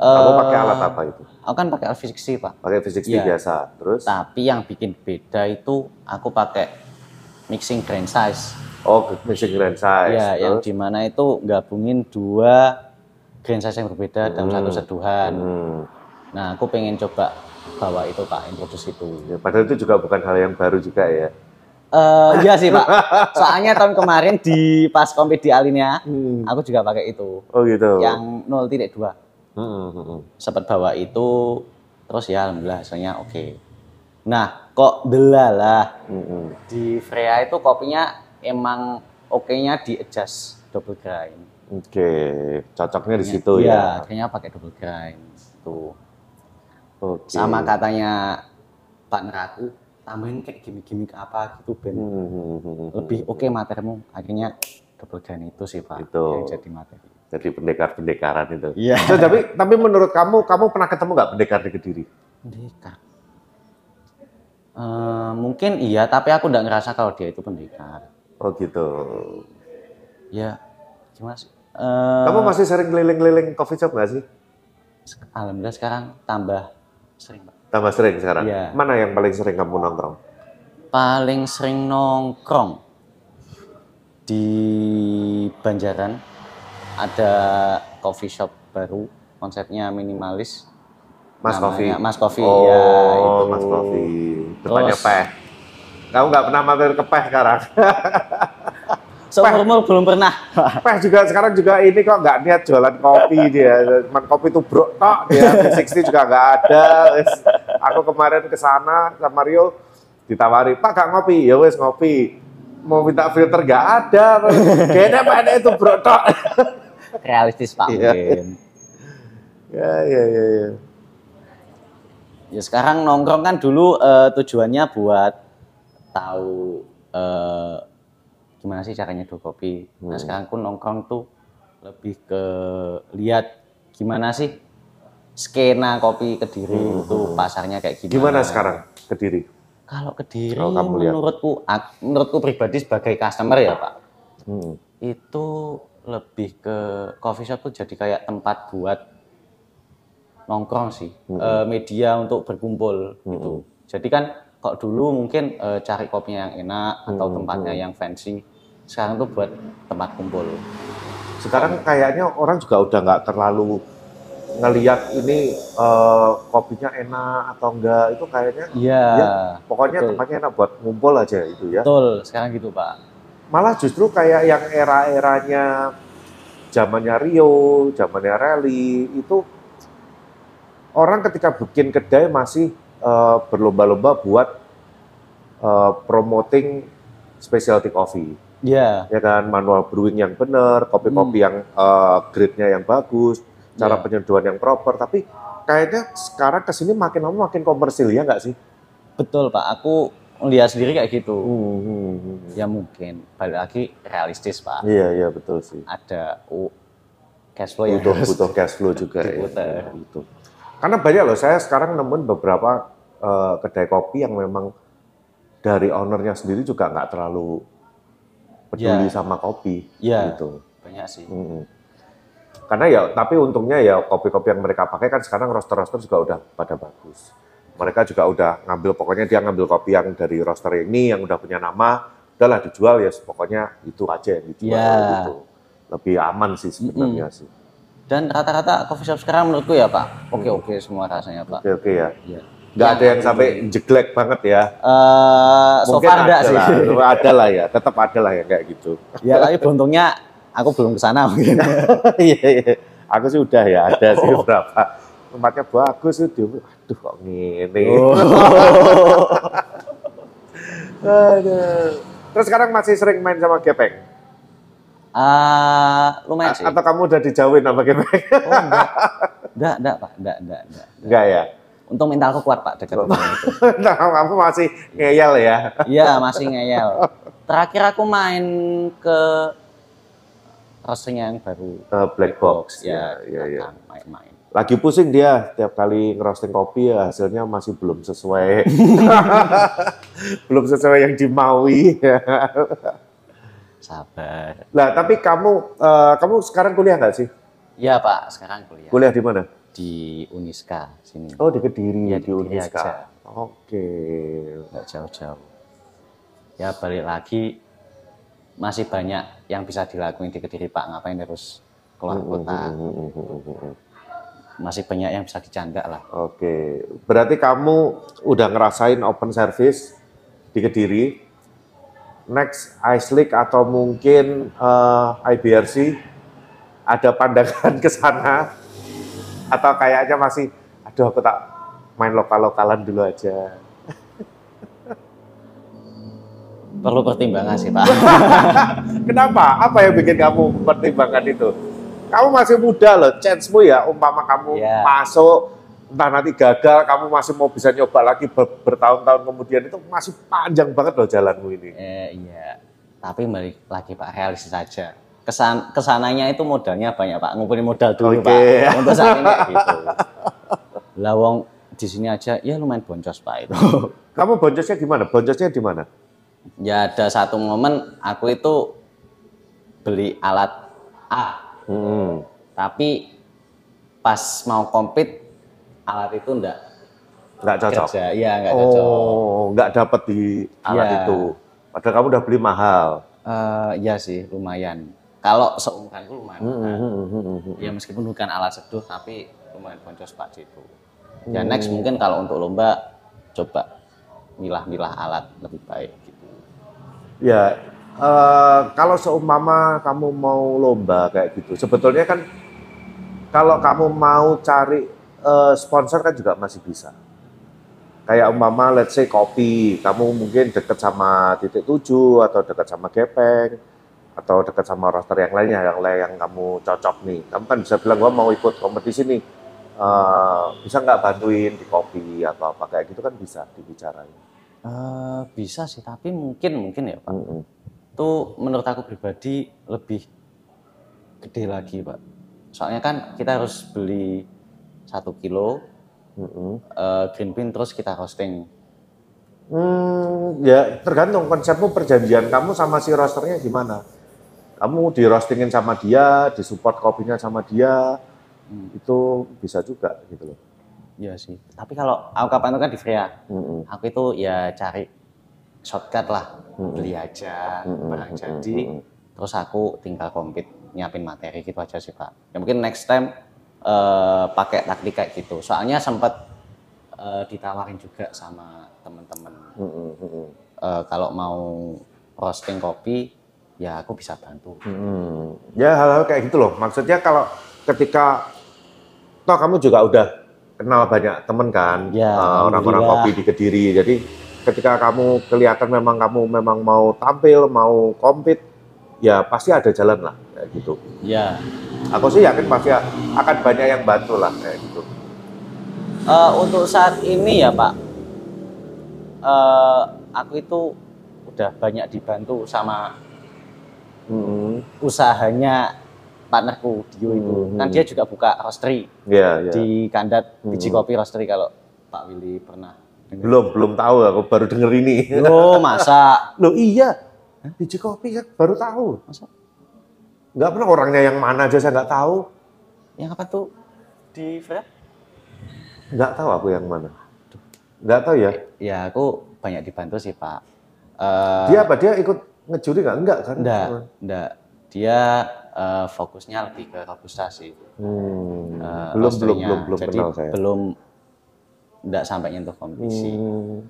Speaker 2: Kamu
Speaker 1: Eh,
Speaker 2: pakai alat apa itu?
Speaker 1: Aku kan pakai LV60 pak.
Speaker 2: Pakai fisik
Speaker 1: Iya.
Speaker 2: biasa, terus?
Speaker 1: Tapi yang bikin beda itu aku pakai mixing grain size.
Speaker 2: Oh, fisik grand size.
Speaker 1: ya, yang
Speaker 2: terus?
Speaker 1: dimana itu gabungin dua grain size yang berbeda dalam
Speaker 2: Hmm.
Speaker 1: satu seduhan.
Speaker 2: Hmm.
Speaker 1: Nah, aku pengen coba bawa itu pak, introduce itu.
Speaker 2: Ya, padahal itu juga bukan hal yang baru juga ya.
Speaker 1: Eh iya sih pak. Soalnya tahun kemarin di pas kompet di Alinea,
Speaker 2: Hmm.
Speaker 1: aku juga pakai itu.
Speaker 2: Oh gitu.
Speaker 1: Hmm. Yang 0.2
Speaker 2: Hmm, hmm, hmm.
Speaker 1: sempat bawa itu terus ya alhamdulillah hasilnya oke. Nah kok delalah
Speaker 2: Hmm, hmm.
Speaker 1: di Freya itu kopinya emang oke-nya di adjust double grind.
Speaker 2: Oke, cocoknya di situ
Speaker 1: Iya,
Speaker 2: ya.
Speaker 1: akhirnya pakai double grind tuh.
Speaker 2: Oke.
Speaker 1: Sama katanya partner aku tambahin kayak gimmick-gimmick apa gitu ben
Speaker 2: Hmm.
Speaker 1: lebih oke materimu akhirnya double grind itu sih pak
Speaker 2: Itu.
Speaker 1: yang jadi materi.
Speaker 2: Jadi pendekar-pendekaran itu.
Speaker 1: Iya.
Speaker 2: So, tapi tapi menurut kamu, kamu pernah ketemu nggak pendekar di Kediri?
Speaker 1: Pendekar. Eh, mungkin iya, tapi aku nggak ngerasa kalau dia itu pendekar.
Speaker 2: Oh gitu.
Speaker 1: Ya, gimana sih? Eh,
Speaker 2: Kamu masih sering keliling-keliling coffee shop nggak sih?
Speaker 1: alhamdulillah sekarang tambah sering, Pak.
Speaker 2: Tambah sering sekarang.
Speaker 1: Iya.
Speaker 2: Mana yang paling sering kamu nongkrong?
Speaker 1: Paling sering nongkrong di Banjaran ada coffee shop baru konsepnya minimalis.
Speaker 2: Mas
Speaker 1: Namanya
Speaker 2: Coffee.
Speaker 1: Mas Coffee,
Speaker 2: Oh,
Speaker 1: ya, itu.
Speaker 2: Mas Coffee. Depannya
Speaker 1: Terus-
Speaker 2: peh. Kamu nggak pernah mampir ke peh sekarang.
Speaker 1: Seumur belum pernah.
Speaker 2: peh juga sekarang juga ini kok nggak niat jualan kopi dia. Cuman kopi tuh bro tok dia. 60 juga nggak ada. Wes, Aku kemarin ke sana sama Rio ditawari, "Pak, gak ngopi." Ya wes ngopi. Mau minta filter nggak ada. Kayaknya pada itu bro tok.
Speaker 1: Realistis Pak
Speaker 2: Iya.
Speaker 1: mungkin.
Speaker 2: ya, ya, ya, ya.
Speaker 1: Ya sekarang nongkrong kan dulu eh, tujuannya buat tahu eh, gimana sih caranya do kopi. Nah
Speaker 2: Hmm.
Speaker 1: sekarang pun nongkrong tuh lebih ke lihat gimana sih skena kopi kediri itu pasarnya kayak gimana.
Speaker 2: Hmm. Gimana sekarang Kediri?
Speaker 1: Kalau kediri
Speaker 2: Kalau kamu lihat.
Speaker 1: menurutku ak- menurutku pribadi sebagai customer ya Pak
Speaker 2: Hmm.
Speaker 1: itu lebih ke coffee shop tuh jadi kayak tempat buat nongkrong sih Eh, media untuk berkumpul gitu jadi kan kok dulu mungkin eh, cari kopinya yang enak atau tempatnya yang fancy sekarang tuh buat tempat kumpul
Speaker 2: sekarang kayaknya orang juga udah nggak terlalu ngeliat ini eh, kopinya enak atau enggak itu kayaknya
Speaker 1: iya
Speaker 2: Ya. pokoknya
Speaker 1: Betul.
Speaker 2: tempatnya enak buat ngumpul aja itu ya
Speaker 1: betul sekarang gitu pak
Speaker 2: malah justru kayak yang era-eranya zamannya Rio zamannya Rally itu orang ketika bikin kedai masih eh, berlomba-lomba buat eh, promoting specialty coffee
Speaker 1: iya
Speaker 2: ya kan manual brewing yang benar, kopi-kopi yang eh, grade-nya yang bagus, cara
Speaker 1: Iya.
Speaker 2: penyeduhan yang proper. Tapi kayaknya sekarang kesini makin lama makin komersil ya nggak sih?
Speaker 1: betul pak aku melihat sendiri kayak gitu
Speaker 2: Hmm.
Speaker 1: ya mungkin balik lagi realistis pak
Speaker 2: Iya iya betul sih.
Speaker 1: ada u cash flow ya. yang
Speaker 2: Butuh
Speaker 1: harus
Speaker 2: butuh cash flow juga ya.
Speaker 1: diputar.
Speaker 2: Itu. iya. Karena banyak loh saya sekarang nemuin beberapa eh, kedai kopi yang memang dari ownernya sendiri juga nggak terlalu
Speaker 1: Iya.
Speaker 2: peduli sama kopi
Speaker 1: Iya.
Speaker 2: gitu.
Speaker 1: banyak sih
Speaker 2: Mm-mm. Karena ya, tapi untungnya ya kopi-kopi yang mereka pakai kan sekarang roster-roster juga udah pada bagus. Mereka juga udah ngambil, pokoknya dia ngambil kopi yang dari roster ini yang udah punya nama, udahlah dijual ya, pokoknya itu aja yang dijual
Speaker 1: Iya.
Speaker 2: gitu. Lebih aman sih sebenarnya sih.
Speaker 1: Dan rata-rata coffee shop sekarang menurutku ya Pak,
Speaker 2: Hmm.
Speaker 1: oke-oke semua rasanya Pak.
Speaker 2: Oke oke ya.
Speaker 1: Iya.
Speaker 2: Nggak ada yang sampai jeglek banget ya.
Speaker 1: Eh, so far enggak sih.
Speaker 2: lah, ada lah ya, tetap ada lah ya kayak gitu.
Speaker 1: ya tapi beruntungnya aku belum ke sana mungkin. Eh,
Speaker 2: Iya, iya. Aku sih udah ya, ada sih berapa. Tempatnya bagus tuh, dia, aduh kok gini. Oh. Aduh. Terus sekarang masih sering main sama gepeng?
Speaker 1: Eh, lumayan
Speaker 2: A-
Speaker 1: sih.
Speaker 2: atau kamu udah dijauhin sama gepeng?
Speaker 1: Oh, enggak. enggak, enggak Pak, enggak, enggak, enggak.
Speaker 2: Enggak ya?
Speaker 1: Untung mentalku kuat Pak dekat dengan itu.
Speaker 2: nah, kamu masih ngeyel ya?
Speaker 1: Iya, masih ngeyel. Terakhir aku main ke roasting yang baru.
Speaker 2: Eh, black box.
Speaker 1: Ya,
Speaker 2: Ya, ya, ya.
Speaker 1: silakan main-main.
Speaker 2: Lagi pusing dia tiap kali ngerosting kopi ya hasilnya masih belum sesuai. belum sesuai yang dimaui. ya.
Speaker 1: Sabar.
Speaker 2: Lah, tapi kamu eh, kamu sekarang kuliah nggak sih?
Speaker 1: Iya Pak, sekarang kuliah
Speaker 2: Kuliah di mana?
Speaker 1: di Uniska sini.
Speaker 2: Oh, di Kediri,
Speaker 1: Iya,
Speaker 2: di
Speaker 1: di Kediri aja.
Speaker 2: Uniska. Oke.
Speaker 1: nggak jauh-jauh. Ya balik lagi masih banyak yang bisa dilakuin di Kediri Pak ngapain harus keluar kota masih banyak yang bisa dicanda lah
Speaker 2: Oke. Berarti kamu udah ngerasain open service di Kediri. Next Ice League atau mungkin eh, IBRC ada pandangan ke sana atau kayaknya masih aduh aku tak main lokal-lokalan dulu aja.
Speaker 1: perlu pertimbangan sih Pak
Speaker 2: Kenapa? Apa yang bikin kamu mempertimbangkan itu? Kamu masih muda loh, chance-mu ya, umpama kamu
Speaker 1: Iya.
Speaker 2: masuk, entah nanti gagal, kamu masih mau bisa nyoba lagi ber- bertahun-tahun kemudian itu masih panjang banget loh jalanmu ini.
Speaker 1: eh, iya tapi balik lagi Pak realistis saja kesan kesananya itu modalnya banyak Pak ngumpulin modal dulu
Speaker 2: Oke.
Speaker 1: Pak untuk saat ini kayak gitu lawong di sini aja ya lumayan boncos Pak itu
Speaker 2: Kamu boncosnya gimana? Boncosnya di mana?
Speaker 1: ya ada satu momen aku itu beli alat A
Speaker 2: Hmm.
Speaker 1: tapi pas mau kompet alat itu ndak
Speaker 2: nggak cocok.
Speaker 1: kerja iya nggak cocok
Speaker 2: Oh, nggak dapat di alat
Speaker 1: Iya.
Speaker 2: itu. Padahal kamu udah beli mahal.
Speaker 1: Eh, iya sih lumayan kalau seumuranku lumayan mahal. ya meskipun bukan alat seduh tapi lumayan boncos pak itu ya
Speaker 2: Hmm.
Speaker 1: next mungkin kalau untuk lomba coba milah-milah alat lebih baik gitu
Speaker 2: Ya, eh, kalau seumpama kamu mau lomba kayak gitu, sebetulnya kan kalau kamu mau cari eh, sponsor kan juga masih bisa. Kayak umpama let's say kopi, kamu mungkin deket sama titik tujuh atau deket sama gepeng atau deket sama roster yang lainnya yang lain yang kamu cocok nih. Kamu kan bisa bilang gua mau ikut kompetisi nih. Eh, bisa nggak bantuin di kopi atau apa kayak gitu kan bisa dibicarain.
Speaker 1: Eh, bisa sih tapi mungkin mungkin ya pak itu menurut aku pribadi lebih gede lagi pak soalnya kan kita harus beli satu kilo
Speaker 2: Mm-mm.
Speaker 1: eh, green bean terus kita roasting
Speaker 2: Hmm, ya tergantung konsepmu perjanjian kamu sama si rosternya gimana. Kamu di roastingin sama dia, disupport kopinya sama dia,
Speaker 1: Hmm.
Speaker 2: itu bisa juga gitu loh.
Speaker 1: Iya sih tapi kalau aku kapan itu kan di Freya
Speaker 2: Mm-mm.
Speaker 1: aku itu ya cari shortcut lah beli aja
Speaker 2: Mm-mm.
Speaker 1: barang Nah,
Speaker 2: Mm-mm.
Speaker 1: jadi
Speaker 2: Mm-mm.
Speaker 1: terus aku tinggal kompet nyiapin materi gitu aja sih pak ya mungkin next time eh, pakai taktik kayak gitu soalnya sempat eh, ditawarin juga sama temen-temen
Speaker 2: Mm-mm. Mm-mm.
Speaker 1: Eh, kalau mau roasting kopi ya aku bisa bantu
Speaker 2: Mm-mm. Ya hal-hal kayak gitu loh. Maksudnya kalau ketika toh kamu juga udah kenal banyak temen kan,
Speaker 1: Ya,
Speaker 2: eh, orang-orang
Speaker 1: alhamdulillah.
Speaker 2: kopi di Kediri. Jadi ketika kamu kelihatan memang kamu memang mau tampil, mau kompet, ya pasti ada jalan lah kayak gitu.
Speaker 1: ya
Speaker 2: Aku sih yakin pasti akan banyak yang bantu lah kayak gitu.
Speaker 1: Eh, untuk saat ini ya Pak, eh, aku itu udah banyak dibantu sama usahanya partnerku Dio itu.
Speaker 2: Hmm.
Speaker 1: Kan dia juga buka roastery
Speaker 2: Iya, iya.
Speaker 1: di Kandat biji
Speaker 2: Hmm.
Speaker 1: kopi roastery kalau Pak Willy pernah. dengar.
Speaker 2: Belum, belum tahu aku baru denger ini.
Speaker 1: Loh, masa?
Speaker 2: Loh iya, biji kopi saya baru tahu.
Speaker 1: Masa?
Speaker 2: Nggak pernah orangnya yang mana aja saya nggak tahu.
Speaker 1: Yang apa Ya, tuh? Di Fred?
Speaker 2: Nggak tahu aku yang mana. Nggak tahu ya.
Speaker 1: Ya, aku banyak dibantu sih Pak. Eh,
Speaker 2: Dia apa? Dia ikut ngejuri nggak? Nggak kan?
Speaker 1: Enggak, enggak. Dia eh, fokusnya lebih ke robusta sih.
Speaker 2: Hmm.
Speaker 1: eh,
Speaker 2: belum, belum,
Speaker 1: rosternya.
Speaker 2: belum, belum
Speaker 1: Jadi
Speaker 2: kenal saya.
Speaker 1: belum enggak sampai nyentuh kompetisi
Speaker 2: Hmm.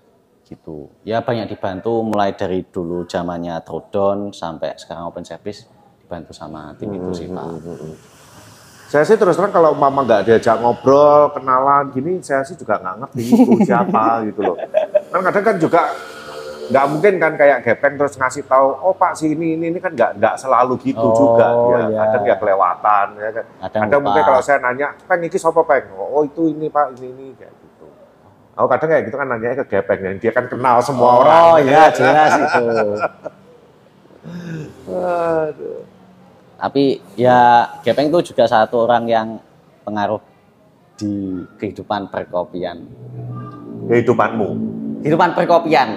Speaker 1: gitu. Ya banyak dibantu mulai dari dulu zamannya Throwdown sampai sekarang open service dibantu sama tim
Speaker 2: Hmm,
Speaker 1: itu Gitu sih Pak.
Speaker 2: Saya sih terus terang kalau mama nggak diajak ngobrol, kenalan gini, saya sih juga nggak ngerti itu siapa gitu loh. Kan kadang kan juga nggak mungkin kan kayak gepeng terus ngasih tahu, oh pak si ini ini, ini kan nggak nggak selalu gitu
Speaker 1: Oh,
Speaker 2: juga. Ya,
Speaker 1: iya.
Speaker 2: Kadang ya kelewatan. Ya. kan.
Speaker 1: Kadang,
Speaker 2: Kadang mungkin
Speaker 1: lupa.
Speaker 2: kalau saya nanya, peng ini siapa peng? Oh itu ini pak ini ini kayak gitu. Oh kadang kayak gitu kan nanya ke gepeng yang dia kan kenal semua
Speaker 1: Oh,
Speaker 2: orang.
Speaker 1: ya jelas itu.
Speaker 2: Aduh.
Speaker 1: Tapi ya Gepeng itu juga satu orang yang pengaruh di kehidupan perkopian.
Speaker 2: Kehidupanmu,
Speaker 1: Kehidupan perkopian.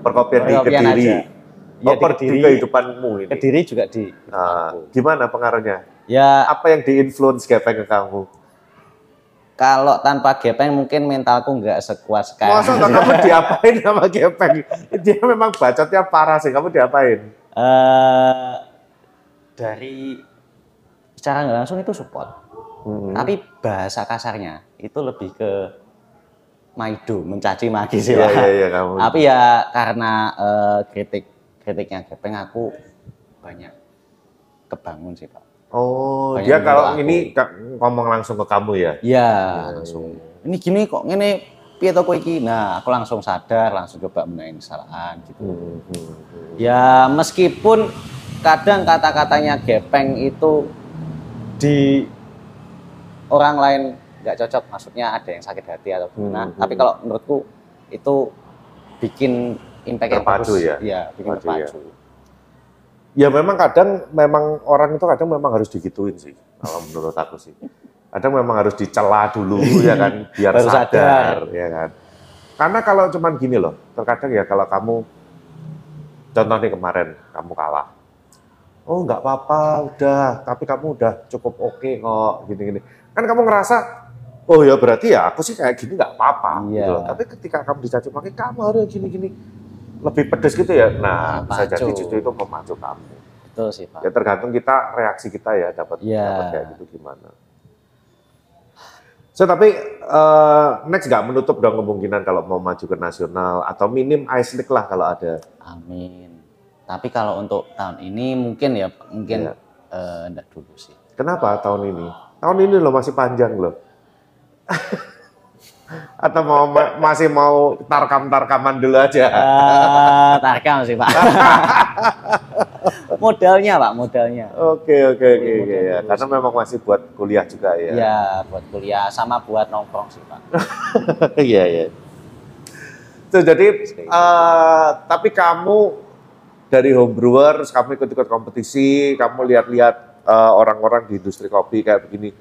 Speaker 2: perkopian di
Speaker 1: Perkopian
Speaker 2: kediri.
Speaker 1: aja. Ya,
Speaker 2: Oh,
Speaker 1: di
Speaker 2: per- di
Speaker 1: Kediri.
Speaker 2: kehidupanmu ini.
Speaker 1: Kediri juga di
Speaker 2: Ah,
Speaker 1: kehidupanku.
Speaker 2: gimana pengaruhnya?
Speaker 1: Ya
Speaker 2: Apa yang diinfluence Gepeng ke kamu?
Speaker 1: kalau tanpa gepeng mungkin mentalku nggak sekuat sekarang.
Speaker 2: Masa tak kamu diapain sama Gepeng? Dia memang bacotnya parah sih, kamu diapain?
Speaker 1: Eh, dari secara nggak langsung itu support.
Speaker 2: Hmm.
Speaker 1: Tapi bahasa kasarnya itu lebih ke maido, mencaci maki sih.
Speaker 2: Iya,
Speaker 1: Pak.
Speaker 2: iya, iya kamu.
Speaker 1: Tapi ya karena eh, kritik kritiknya gepeng aku banyak kebangun sih pak.
Speaker 2: Oh,
Speaker 1: Pengen
Speaker 2: dia
Speaker 1: dulu
Speaker 2: kalau
Speaker 1: aku.
Speaker 2: ini ka- ngomong langsung ke kamu ya?
Speaker 1: Iya
Speaker 2: iya,
Speaker 1: langsung. Ini gini kok ngene piye to kowe iki. Nah, aku langsung sadar, langsung coba menaik kesalahan gitu. Ya meskipun kadang kata-katanya gepeng itu di orang lain nggak cocok, maksudnya ada yang sakit hati atau gimana.
Speaker 2: Hmm, hmm.
Speaker 1: Tapi kalau menurutku itu bikin impact yang
Speaker 2: Terpadu
Speaker 1: bagus.
Speaker 2: ya?
Speaker 1: Iya, bikin
Speaker 2: Terpadu ya.
Speaker 1: terpadu.
Speaker 2: Ya memang kadang, memang orang itu kadang memang harus digituin sih, kalau menurut aku sih. Kadang memang harus dicela dulu ya kan, biar
Speaker 1: Baru
Speaker 2: sadar,
Speaker 1: sadar.
Speaker 2: ya kan. Karena kalau cuman gini loh, terkadang ya kalau kamu, contoh nih kemarin kamu kalah, oh nggak apa-apa, udah, tapi kamu udah cukup oke kok, gini-gini. Kan kamu ngerasa, oh ya berarti ya aku sih kayak gini nggak apa-apa
Speaker 1: Iya.
Speaker 2: gitu loh. Tapi ketika kamu dicaci maki kamu harus gini-gini lebih pedes gitu ya. Nah,
Speaker 1: Nah,
Speaker 2: bisa jadi
Speaker 1: pacu.
Speaker 2: justru itu memacu kamu.
Speaker 1: Betul sih Pak.
Speaker 2: Ya tergantung kita reaksi kita ya dapat
Speaker 1: Iya.
Speaker 2: dapat kayak gitu gimana. So tapi eh, next nggak menutup dong kemungkinan kalau mau maju ke nasional atau minim Ice League lah kalau ada.
Speaker 1: Amin. Tapi kalau untuk tahun ini mungkin ya mungkin
Speaker 2: Iya.
Speaker 1: eh, enggak dulu sih.
Speaker 2: Kenapa tahun ini? Tahun ini loh masih panjang loh. atau mau ma- masih mau tarkam-tarkaman dulu aja.
Speaker 1: Eh, tarkam sih Pak. modalnya Pak, modalnya.
Speaker 2: Oke oke oke oke ya. Karena memang masih buat kuliah juga ya.
Speaker 1: Ya, buat kuliah sama buat nongkrong sih Pak.
Speaker 2: Iya iya. Tuh, jadi eh, tapi kamu dari home brewer, terus kamu ikut-ikut kompetisi, kamu lihat-lihat eh, orang-orang di industri kopi kayak begini.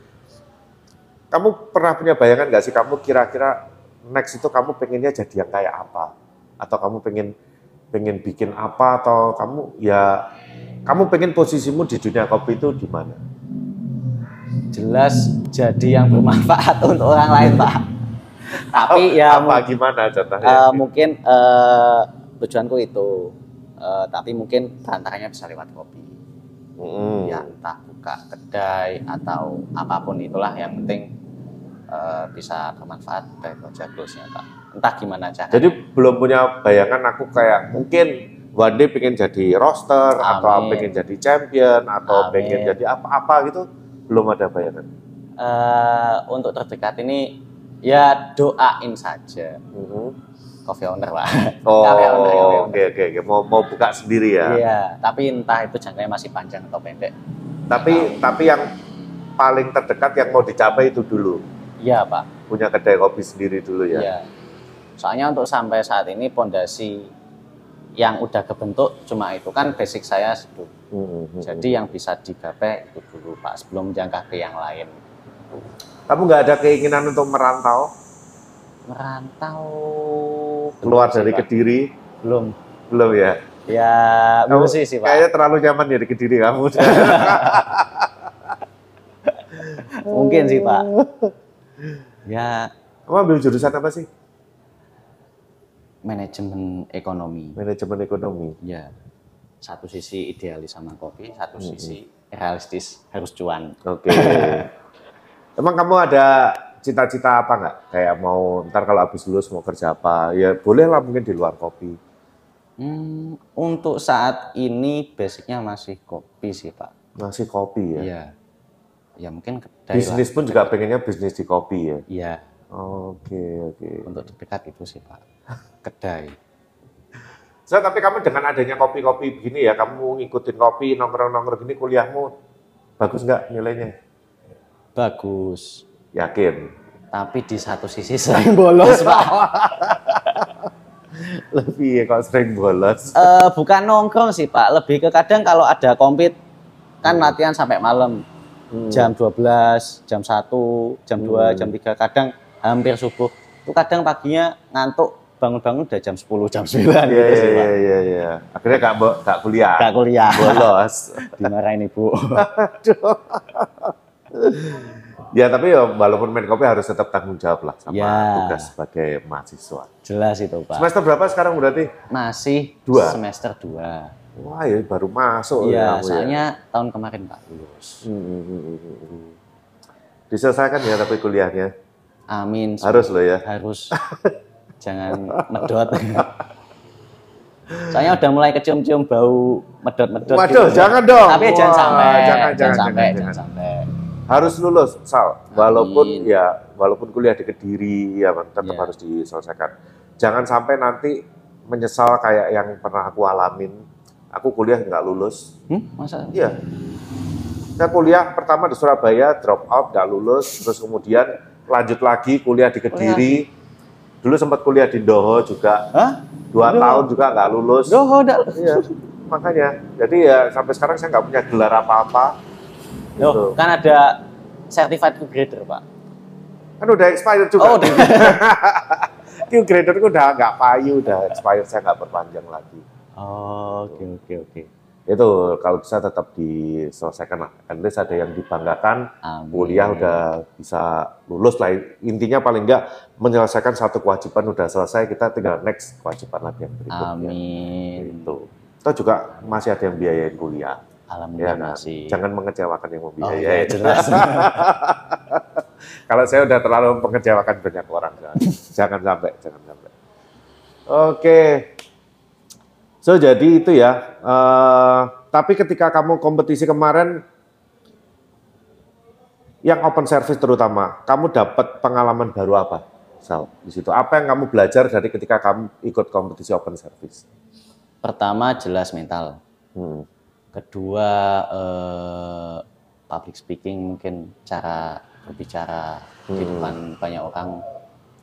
Speaker 2: Kamu pernah punya bayangan nggak sih kamu kira-kira next itu kamu pengennya jadi yang kayak apa? Atau kamu pengen pengen bikin apa atau kamu ya kamu pengen posisimu di dunia kopi itu di mana?
Speaker 1: Jelas jadi yang bermanfaat untuk orang lain Pak. Tapi
Speaker 2: Apa-
Speaker 1: ya
Speaker 2: Oh, apa gimana contohnya?
Speaker 1: Eh, mungkin eh, tujuanku itu Eh, tapi mungkin tantangannya bisa lewat kopi
Speaker 2: Mm-mm.
Speaker 1: ya entah buka kedai atau apapun itulah yang penting eh, bisa bermanfaat dari Gojek Plus-nya, Pak entah gimana cara
Speaker 2: Jadi belum punya bayangan aku kayak mungkin one day pengen jadi roster atau
Speaker 1: Amin.
Speaker 2: pengen jadi champion
Speaker 1: Amin.
Speaker 2: atau pengen jadi apa-apa gitu belum ada bayangan.
Speaker 1: Eh, untuk terdekat ini ya doain saja coffee owner Pak
Speaker 2: Mhm. Oh,
Speaker 1: Coffee owner, coffee owner.
Speaker 2: oke oke oke mau mau buka sendiri ya.
Speaker 1: Iya, tapi entah itu jangkanya masih panjang atau pendek.
Speaker 2: Tapi tapi yang paling terdekat yang mau dicapai itu dulu
Speaker 1: Iya, Pak.
Speaker 2: punya kedai kopi sendiri dulu ya.
Speaker 1: Iya. Soalnya untuk sampai saat ini pondasi yang udah kebentuk cuma itu kan basic saya dulu.
Speaker 2: Mhm.
Speaker 1: Jadi yang bisa digapai itu dulu Pak sebelum jangka ke yang lain.
Speaker 2: kamu nggak ada keinginan untuk merantau
Speaker 1: Merantau
Speaker 2: keluar
Speaker 1: Belum sih,
Speaker 2: dari
Speaker 1: Pak.
Speaker 2: kediri
Speaker 1: belum.
Speaker 2: belum ya?
Speaker 1: Ya
Speaker 2: Kamu
Speaker 1: belum sih sih Pak.
Speaker 2: Oh, Kayaknya terlalu nyaman ya di kediri kamu.
Speaker 1: Mungkin sih Pak. Ya
Speaker 2: kamu ambil jurusan apa sih?
Speaker 1: manajemen ekonomi.
Speaker 2: Manajemen ekonomi.
Speaker 1: Ya satu sisi idealis sama kopi, satu
Speaker 2: Mm-mm.
Speaker 1: sisi realistis harus cuan.
Speaker 2: Oke. Emang kamu ada cita-cita apa nggak? Kayak mau ntar kalau habis lulus mau kerja apa? Ya boleh lah mungkin di luar kopi.
Speaker 1: Hmm, untuk saat ini basicnya masih kopi sih Pak.
Speaker 2: Masih kopi ya.
Speaker 1: Iya. Ya mungkin kedai
Speaker 2: bisnis
Speaker 1: lah.
Speaker 2: pun juga pengennya bisnis di kopi ya.
Speaker 1: Iya,
Speaker 2: Oke oke.
Speaker 1: untuk dekat itu sih Pak. Kedai.
Speaker 2: So tapi kamu dengan adanya kopi-kopi begini ya, kamu ngikutin kopi nongkrong-nongkrong gini kuliahmu bagus nggak nilainya?
Speaker 1: Bagus.
Speaker 2: Yakin?
Speaker 1: Tapi di satu sisi sering bolos Pak.
Speaker 2: Lebih ya kalau sering bolos.
Speaker 1: Eh, bukan nongkrong sih Pak, lebih ke kadang kalau ada kompet
Speaker 2: Iya.
Speaker 1: kan latihan sampai malam
Speaker 2: Hmm.
Speaker 1: jam 12, jam 1, jam 2,
Speaker 2: Hmm.
Speaker 1: jam 3 kadang hampir subuh. Itu kadang paginya ngantuk bangun-bangun udah jam 10, jam 9
Speaker 2: Iya
Speaker 1: gitu sih
Speaker 2: iya
Speaker 1: Pak.
Speaker 2: iya iya. Akhirnya nggak bo- nggak kuliah.
Speaker 1: Gak kuliah,
Speaker 2: Bolos.
Speaker 1: dimarahin ibu.
Speaker 2: Ya tapi ya walaupun main kopi harus tetap tanggung jawab lah sama
Speaker 1: Ya.
Speaker 2: tugas sebagai mahasiswa.
Speaker 1: Jelas itu Pak.
Speaker 2: Semester berapa sekarang berarti?
Speaker 1: Masih
Speaker 2: Dua.
Speaker 1: semester 2.
Speaker 2: Wah ya baru masuk ya,
Speaker 1: Iya,
Speaker 2: kamu
Speaker 1: soalnya tahun kemarin Pak lulus.
Speaker 2: Hmm, hmm, hmm, hmm, hmm. Diselesaikan ya tapi kuliahnya
Speaker 1: Amin.
Speaker 2: harus loh ya.
Speaker 1: Harus. Jangan medot. soalnya udah mulai kecium-cium bau medot-medot.
Speaker 2: Waduh
Speaker 1: gitu.
Speaker 2: jangan dong.
Speaker 1: Tapi jangan
Speaker 2: Wah,
Speaker 1: sampai,
Speaker 2: Jangan
Speaker 1: sampai,
Speaker 2: jangan jangan,
Speaker 1: jangan
Speaker 2: jangan.
Speaker 1: sampai.
Speaker 2: Harus lulus Sal. Walaupun
Speaker 1: Amin.
Speaker 2: ya walaupun kuliah di kediri ya kan, tetap
Speaker 1: Ya.
Speaker 2: harus diselesaikan. Jangan sampai nanti menyesal kayak yang pernah aku alamin. Aku kuliah nggak lulus,
Speaker 1: Hmm, masa?
Speaker 2: Iya. Saya kuliah pertama di Surabaya, drop out, nggak lulus, terus kemudian lanjut lagi kuliah di Kediri. Dulu sempat kuliah di Doho juga,
Speaker 1: Hah?
Speaker 2: dua
Speaker 1: Doho?
Speaker 2: tahun juga nggak lulus.
Speaker 1: Duh, udah.
Speaker 2: Iya, makanya. Jadi ya sampai sekarang saya nggak punya gelar apa-apa.
Speaker 1: Duh,
Speaker 2: Gitu.
Speaker 1: kan ada certified grader, Pak.
Speaker 2: Kan udah expired juga.
Speaker 1: Oh, udah.
Speaker 2: Q graderku udah nggak payu, udah expired, saya nggak perpanjang lagi.
Speaker 1: Oh, oke, oke, oke.
Speaker 2: itu kalau bisa tetap diselesaikan lah. At least ada yang dibanggakan,
Speaker 1: Amin.
Speaker 2: kuliah udah bisa lulus lah. Intinya paling enggak menyelesaikan satu kewajiban udah selesai, kita tinggal next kewajiban lagi yang berikutnya.
Speaker 1: Amin.
Speaker 2: Itu. Kita juga masih ada yang biayain kuliah.
Speaker 1: Alhamdulillah
Speaker 2: Ya, kan?
Speaker 1: Iya, masih.
Speaker 2: Jangan mengecewakan yang
Speaker 1: Oh, iya,
Speaker 2: membiayai.
Speaker 1: jelas.
Speaker 2: Kalau saya udah terlalu mengecewakan banyak orang, jangan, jangan sampai, jangan sampai. Oke, so jadi itu ya. Eh, tapi ketika kamu kompetisi kemarin, yang open service terutama, kamu dapat pengalaman baru apa? Sal, di situ apa yang kamu belajar dari ketika kamu ikut kompetisi open service?
Speaker 1: Pertama jelas mental.
Speaker 2: Hmm.
Speaker 1: Kedua eh, public speaking mungkin cara berbicara di depan banyak orang.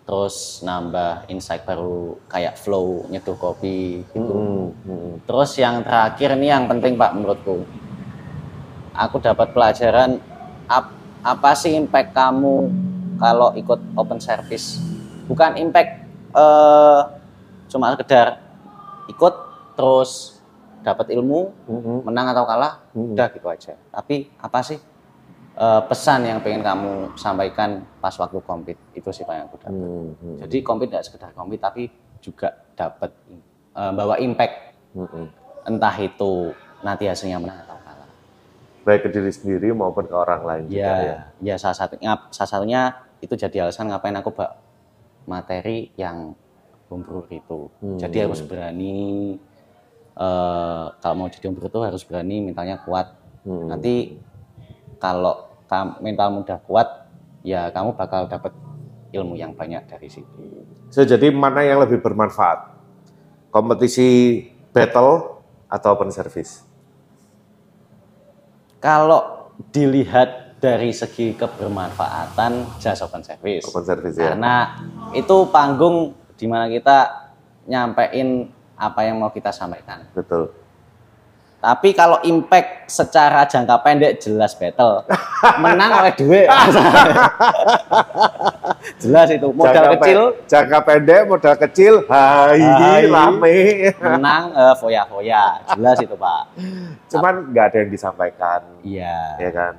Speaker 1: Terus nambah insight baru kayak flow, nyeduh kopi gitu.
Speaker 2: Hmm, hmm.
Speaker 1: Terus yang terakhir nih yang penting Pak menurutku. Aku dapat pelajaran ap- apa sih impact kamu kalau ikut open service? Bukan impact eh, cuma sekedar ikut terus dapat ilmu,
Speaker 2: Hmm,
Speaker 1: menang atau kalah,
Speaker 2: Hmm.
Speaker 1: udah gitu aja. Tapi apa sih eh, pesan yang pengen kamu sampaikan pas waktu kompet? Itu sih Pak yang aku dapat.
Speaker 2: hmm, hmm,
Speaker 1: Jadi kompet nggak sekedar kompet tapi juga dapat eh, bawa impact
Speaker 2: hmm, hmm.
Speaker 1: entah itu nanti hasilnya menang atau kalah.
Speaker 2: Baik ke diri sendiri maupun ke orang lain juga ya.
Speaker 1: Ya, ya salah satunya salah satunya itu jadi alasan ngapain aku bak materi yang umbrur itu.
Speaker 2: Hmm.
Speaker 1: Jadi harus berani eh, kalau mau jadi umbrur itu harus berani mentalnya kuat.
Speaker 2: Hmm.
Speaker 1: Nanti kalau kam- mentalmu udah kuat, ya kamu bakal dapat ilmu yang banyak dari situ.
Speaker 2: So, jadi mana yang lebih bermanfaat? Kompetisi battle atau open service?
Speaker 1: Kalau dilihat dari segi kebermanfaatan jasa open service.
Speaker 2: Open service ya.
Speaker 1: karena itu panggung dimana kita nyampein apa yang mau kita sampaikan.
Speaker 2: Betul.
Speaker 1: Tapi kalau impact secara jangka pendek jelas battle. Menang oleh duit. jelas itu modal
Speaker 2: Jangka pe-
Speaker 1: kecil
Speaker 2: jangka pendek, modal kecil, hai,
Speaker 1: Hai.
Speaker 2: rame.
Speaker 1: menang eh, foya-foya. Jelas itu, Pak.
Speaker 2: Cuman nggak ada yang disampaikan,
Speaker 1: Iya.
Speaker 2: ya kan?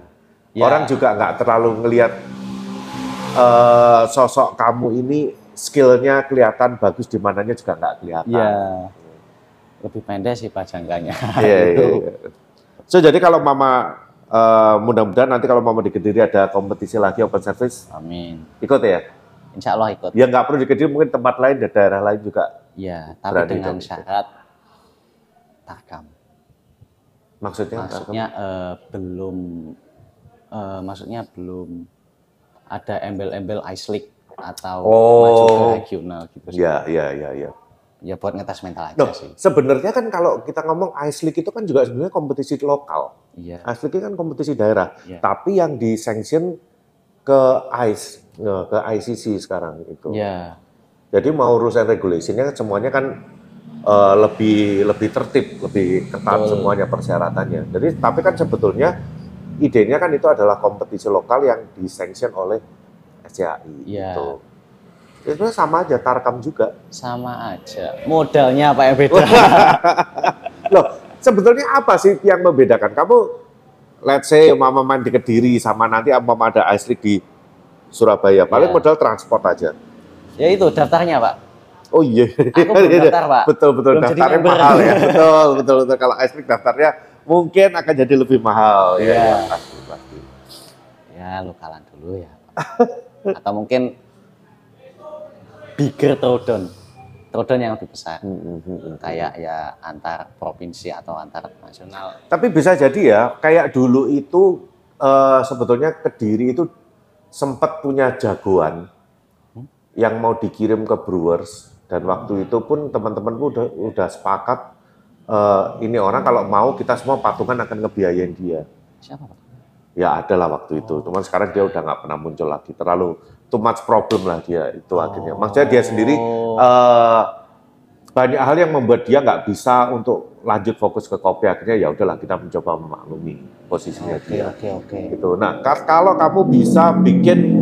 Speaker 1: Ya.
Speaker 2: Orang juga nggak terlalu ngelihat eh, sosok kamu ini skillnya kelihatan bagus di mananya juga nggak kelihatan.
Speaker 1: Iya. Lebih pendek sih Pak jangkanya.
Speaker 2: Iya,
Speaker 1: Ya, Itu.
Speaker 2: iya, iya. So jadi kalau mama eh, mudah-mudahan nanti kalau mama di Kediri ada kompetisi lagi open service
Speaker 1: Amin.
Speaker 2: ikut ya.
Speaker 1: Insya Allah ikut.
Speaker 2: Ya nggak perlu di Kediri mungkin tempat lain di daerah lain juga.
Speaker 1: Iya, tapi
Speaker 2: Berani
Speaker 1: dengan
Speaker 2: dong.
Speaker 1: syarat takam.
Speaker 2: Maksudnya?
Speaker 1: maksudnya eh, belum eh, maksudnya belum ada embel-embel ice league atau maju ke
Speaker 2: Oh.
Speaker 1: regional gitu sih.
Speaker 2: Iya, iya, iya, iya.
Speaker 1: ya buat ngetes mental aja
Speaker 2: Loh,
Speaker 1: sih
Speaker 2: sebenarnya kan kalau kita ngomong Ice League itu kan juga sebenarnya kompetisi lokal.
Speaker 1: iya
Speaker 2: Ice League kan kompetisi daerah.
Speaker 1: Iya.
Speaker 2: Tapi yang disanction ke ICE, eh, ke ICC sekarang itu.
Speaker 1: iya
Speaker 2: Jadi mau rules and regulation-nya semuanya kan eh, lebih lebih tertib, lebih ketat
Speaker 1: Betul.
Speaker 2: semuanya persyaratannya. Jadi tapi kan sebetulnya idenya kan itu adalah kompetisi lokal yang disanction oleh SCI
Speaker 1: Iya.
Speaker 2: itu. gitu. Ya, sebenarnya sama aja Tarkam juga.
Speaker 1: sama aja modalnya apa yang beda
Speaker 2: Loh, sebetulnya apa sih yang membedakan? Kamu let's say mama main di Kediri sama nanti mama ada asli di Surabaya. Paling
Speaker 1: Iya.
Speaker 2: modal transport aja.
Speaker 1: ya itu daftarnya pak
Speaker 2: Oh iya.
Speaker 1: aku belum daftar pak
Speaker 2: betul betul
Speaker 1: Belum jadi
Speaker 2: daftarnya
Speaker 1: member.
Speaker 2: mahal ya betul betul betul kalau ice cream daftarnya mungkin akan jadi lebih mahal ya,
Speaker 1: Iya.
Speaker 2: ya, pasti pasti
Speaker 1: ya lu kalah dulu ya Pak. atau mungkin bigger throwdown throwdown yang lebih besar hmm, kayak ya antar provinsi atau antar nasional
Speaker 2: tapi bisa jadi ya kayak dulu itu eh, sebetulnya kediri itu sempat punya jagoan
Speaker 1: Hmm?
Speaker 2: yang mau dikirim ke Brewers dan waktu itu pun teman-temanku udah udah sepakat eh, ini orang kalau mau kita semua patungan akan ngebiayain dia
Speaker 1: siapa pak
Speaker 2: ya ada lah waktu itu. Cuman sekarang dia udah nggak pernah muncul lagi. Terlalu too much problem lah dia itu akhirnya. Maksudnya dia sendiri eh, banyak hal yang membuat dia nggak bisa untuk lanjut fokus ke kopi. Akhirnya ya udahlah kita mencoba memaklumi posisinya dia.
Speaker 1: oke oke
Speaker 2: Gitu. Nah ka- kalau kamu bisa bikin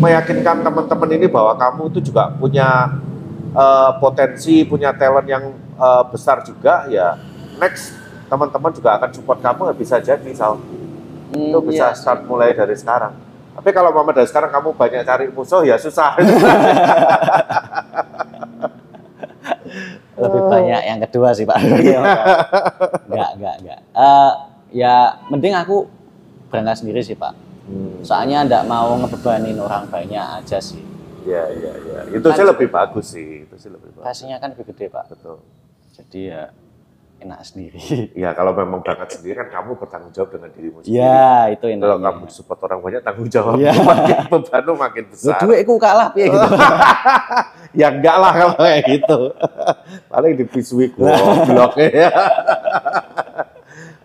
Speaker 2: meyakinkan teman-teman ini bahwa kamu itu juga punya eh, potensi, punya talent yang eh, besar juga ya next teman-teman juga akan support kamu nggak bisa jadi Sal.
Speaker 1: Hmm,
Speaker 2: Itu
Speaker 1: iya
Speaker 2: bisa
Speaker 1: sih.
Speaker 2: start mulai dari sekarang. Tapi kalau mama dari sekarang kamu banyak cari musuh ya susah.
Speaker 1: lebih
Speaker 2: Oh.
Speaker 1: banyak yang kedua sih pak enggak enggak enggak Eh, ya mending aku berangkat sendiri sih pak
Speaker 2: Hmm,
Speaker 1: soalnya enggak mau ngebebanin orang banyak aja sih
Speaker 2: Iya iya iya. Itu sih
Speaker 1: Lanjut.
Speaker 2: lebih bagus sih. Itu sih lebih bagus.
Speaker 1: kasihnya kan lebih gede pak
Speaker 2: Betul.
Speaker 1: jadi ya enak sendiri
Speaker 2: Iya kalau memang berangkat sendiri kan kamu bertanggung jawab dengan dirimu sendiri.
Speaker 1: ya itu enak
Speaker 2: Kalau kamu support orang banyak tanggung jawab
Speaker 1: Iya.
Speaker 2: makin bebanmu makin besar.
Speaker 1: duitku kalah piye gitu
Speaker 2: ya enggak lah kalau kayak gitu paling dipisui
Speaker 1: Nah.
Speaker 2: goblok ya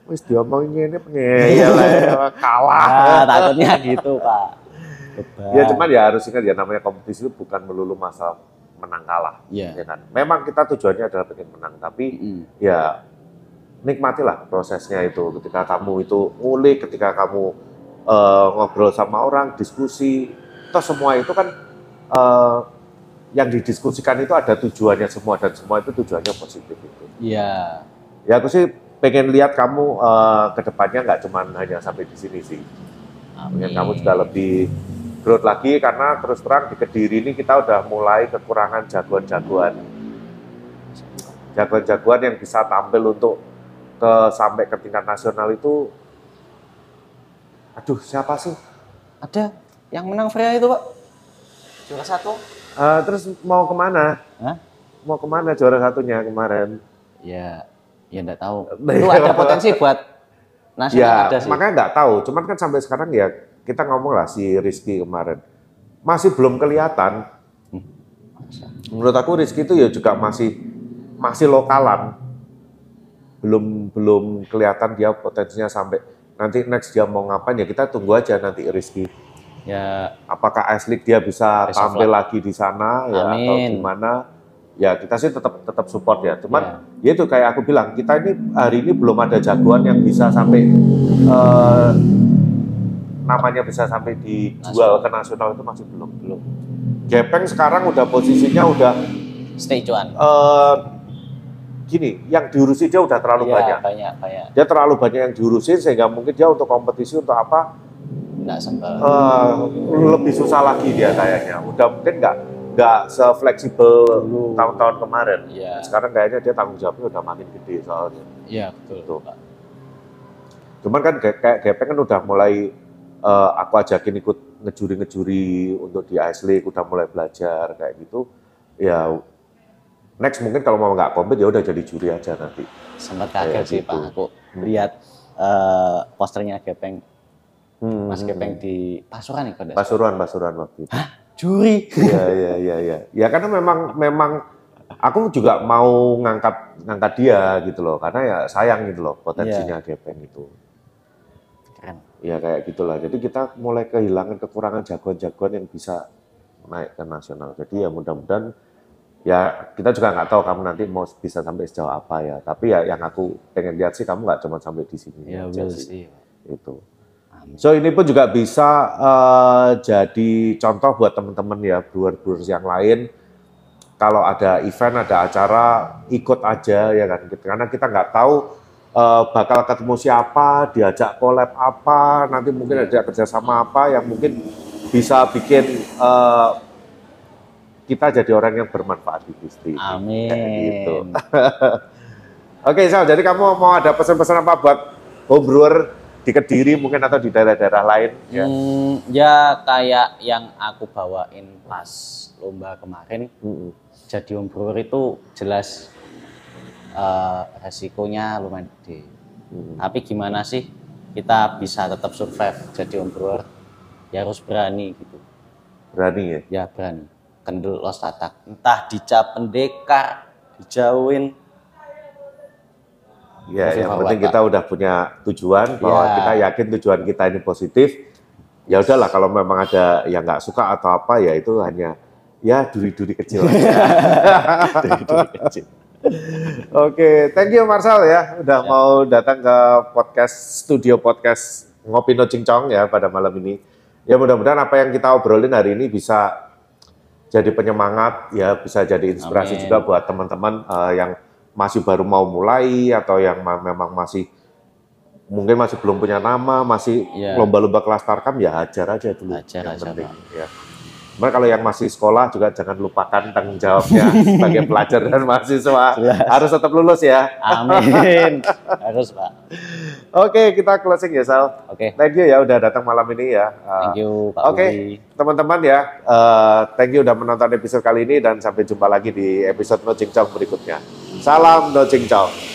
Speaker 2: wis diomongin ini
Speaker 1: Iya.
Speaker 2: pengeyel ya, kalah
Speaker 1: ah, takutnya gitu pak Beban.
Speaker 2: ya cuman ya harus ingat ya namanya kompetisi itu bukan melulu masalah menang kalah
Speaker 1: Iya.
Speaker 2: ya kan memang kita tujuannya adalah pengen menang tapi
Speaker 1: Mm-mm.
Speaker 2: ya nikmatilah prosesnya itu ketika kamu itu ngulik ketika kamu eh, ngobrol sama orang diskusi toh semua itu kan eh, yang didiskusikan itu ada tujuannya semua dan semua itu tujuannya positif itu
Speaker 1: Iya.
Speaker 2: ya aku sih pengen lihat kamu eh, ke depannya nggak cuman hanya sampai di sini sih
Speaker 1: Amin.
Speaker 2: pengen kamu juga lebih growth lagi karena terus terang di kediri ini kita udah mulai kekurangan jagoan-jagoan jagoan-jagoan yang bisa tampil untuk ke sampai ke tingkat nasional itu aduh siapa sih
Speaker 1: Ada yang menang Freya itu pak? Juara satu?
Speaker 2: Eh, terus mau kemana
Speaker 1: Hah?
Speaker 2: mau kemana juara satunya kemarin
Speaker 1: Ya, ya nggak tahu. Itu ada potensi buat nasional
Speaker 2: ya
Speaker 1: ada sih.
Speaker 2: makanya nggak tahu cuman kan sampai sekarang ya kita ngomong lah si Rizky kemarin masih belum kelihatan menurut aku Rizky itu ya juga masih masih lokalan belum belum kelihatan dia potensinya sampai nanti next dia mau ngapain ya kita tunggu aja nanti Rizky
Speaker 1: Ya,
Speaker 2: apakah asli dia bisa
Speaker 1: Best of
Speaker 2: tampil lagi di sana ya atau
Speaker 1: Amin.
Speaker 2: gimana ya kita sih tetap tetap support ya cuman ya itu kayak aku bilang kita ini hari ini belum ada jagoan yang bisa sampai eh, namanya bisa sampai dijual ke nasional itu masih belum belum Gepeng sekarang udah posisinya udah
Speaker 1: stay cuan.
Speaker 2: eh, gini yang diurusi dia udah
Speaker 1: Iya,
Speaker 2: terlalu banyak
Speaker 1: banyak, banyak.
Speaker 2: dia terlalu banyak yang diurusin sehingga mungkin dia untuk kompetisi untuk apa
Speaker 1: Nggak sempat.
Speaker 2: eh, lebih susah lagi dia kayaknya. Udah mungkin nggak nggak sefleksibel
Speaker 1: Dulu.
Speaker 2: tahun-tahun kemarin.
Speaker 1: Iya,
Speaker 2: Sekarang kayaknya dia tanggung jawabnya udah makin gede soalnya.
Speaker 1: iya betul.
Speaker 2: Tuh.
Speaker 1: Pak.
Speaker 2: Cuman kan kayak kayak Gepeng kan udah mulai eh, aku ajakin ikut ngejuri-ngejuri untuk di Ice League, udah mulai belajar kayak gitu. Ya next mungkin kalau mau nggak kompet ya udah jadi juri aja nanti.
Speaker 1: Sempat
Speaker 2: Kayak
Speaker 1: kaget sih
Speaker 2: gitu.
Speaker 1: Pak aku
Speaker 2: Hmm.
Speaker 1: lihat eh, posternya Gepeng,
Speaker 2: Hmm.
Speaker 1: Mas Gepeng di Pasuruan nih pada
Speaker 2: Pasuruan, Pasuruan waktu itu.
Speaker 1: juri.
Speaker 2: Iya iya iya iya. Ya karena memang memang aku juga mau ngangkat ngangkat dia gitu loh karena ya sayang gitu loh potensinya Gepeng itu.
Speaker 1: Keren.
Speaker 2: Ya kayak gitulah. Jadi kita mulai kehilangan kekurangan jagoan-jagoan yang bisa naik ke nasional. Jadi ya mudah-mudahan ya kita juga nggak tahu kamu nanti mau bisa sampai sejauh apa ya. Tapi ya yang aku pengen lihat sih kamu nggak cuma sampai di sini
Speaker 1: Ya,
Speaker 2: aja
Speaker 1: will see.
Speaker 2: sih.
Speaker 1: Pak.
Speaker 2: Itu.
Speaker 1: Amin.
Speaker 2: So ini pun juga bisa eh, jadi contoh buat teman-teman ya brewer-brewers yang lain. Kalau ada event, ada acara, ikut aja ya kan. Karena kita nggak tahu eh, bakal ketemu siapa, diajak collab apa, nanti mungkin ada kerjasama apa yang mungkin bisa bikin eh, kita jadi orang yang bermanfaat di industri.
Speaker 1: Ah.
Speaker 2: Kayak gitu.
Speaker 1: Amin.
Speaker 2: Oke, Sal, jadi kamu mau ada pesan-pesan apa buat home brewer di Kediri mungkin atau di daerah-daerah lain? Ya.
Speaker 1: Hmm, ya kayak yang aku bawain pas lomba kemarin,
Speaker 2: Mm-mm.
Speaker 1: jadi home brewer itu jelas eh, resikonya lumayan gede.
Speaker 2: Mm-mm.
Speaker 1: Tapi gimana sih kita bisa tetap survive jadi home brewer? Ya harus berani gitu.
Speaker 2: Berani ya?
Speaker 1: Ya berani. Kendul los tatak. Entah dicap pendekar, dijauhin.
Speaker 2: Ya,
Speaker 1: Masih
Speaker 2: yang
Speaker 1: bawa,
Speaker 2: penting
Speaker 1: Pak.
Speaker 2: kita udah punya tujuan bahwa
Speaker 1: Ya.
Speaker 2: kita yakin tujuan kita ini positif. Ya udahlah kalau memang ada yang nggak suka atau apa ya itu hanya ya duri-duri kecil. aja. Oke, thank you Marcel ya udah
Speaker 1: Ya.
Speaker 2: mau datang ke podcast studio podcast ngopi no cincong ya pada malam ini. Ya mudah-mudahan apa yang kita obrolin hari ini bisa jadi penyemangat ya bisa jadi
Speaker 1: Amin.
Speaker 2: inspirasi juga buat teman-teman eh, yang masih baru mau mulai atau yang ma- memang masih mungkin masih belum punya nama, masih
Speaker 1: Iya.
Speaker 2: lomba-lomba kelas tarkam ya ajar aja dulu.
Speaker 1: Ajar
Speaker 2: yang
Speaker 1: aja,
Speaker 2: penting, ya. Cuman kalau yang masih sekolah juga jangan lupakan tanggung jawabnya sebagai pelajar dan mahasiswa.
Speaker 1: Jelas.
Speaker 2: Harus tetap lulus ya.
Speaker 1: Amin. Harus Pak.
Speaker 2: Oke, kita closing ya Sal.
Speaker 1: Oke.
Speaker 2: Thank you ya udah datang malam ini ya. Uh,
Speaker 1: Thank you Pak
Speaker 2: Oke.
Speaker 1: Budi.
Speaker 2: teman-teman ya, eh, thank you udah menonton episode kali ini dan sampai jumpa lagi di episode No Cincong berikutnya. Salam No Cincong.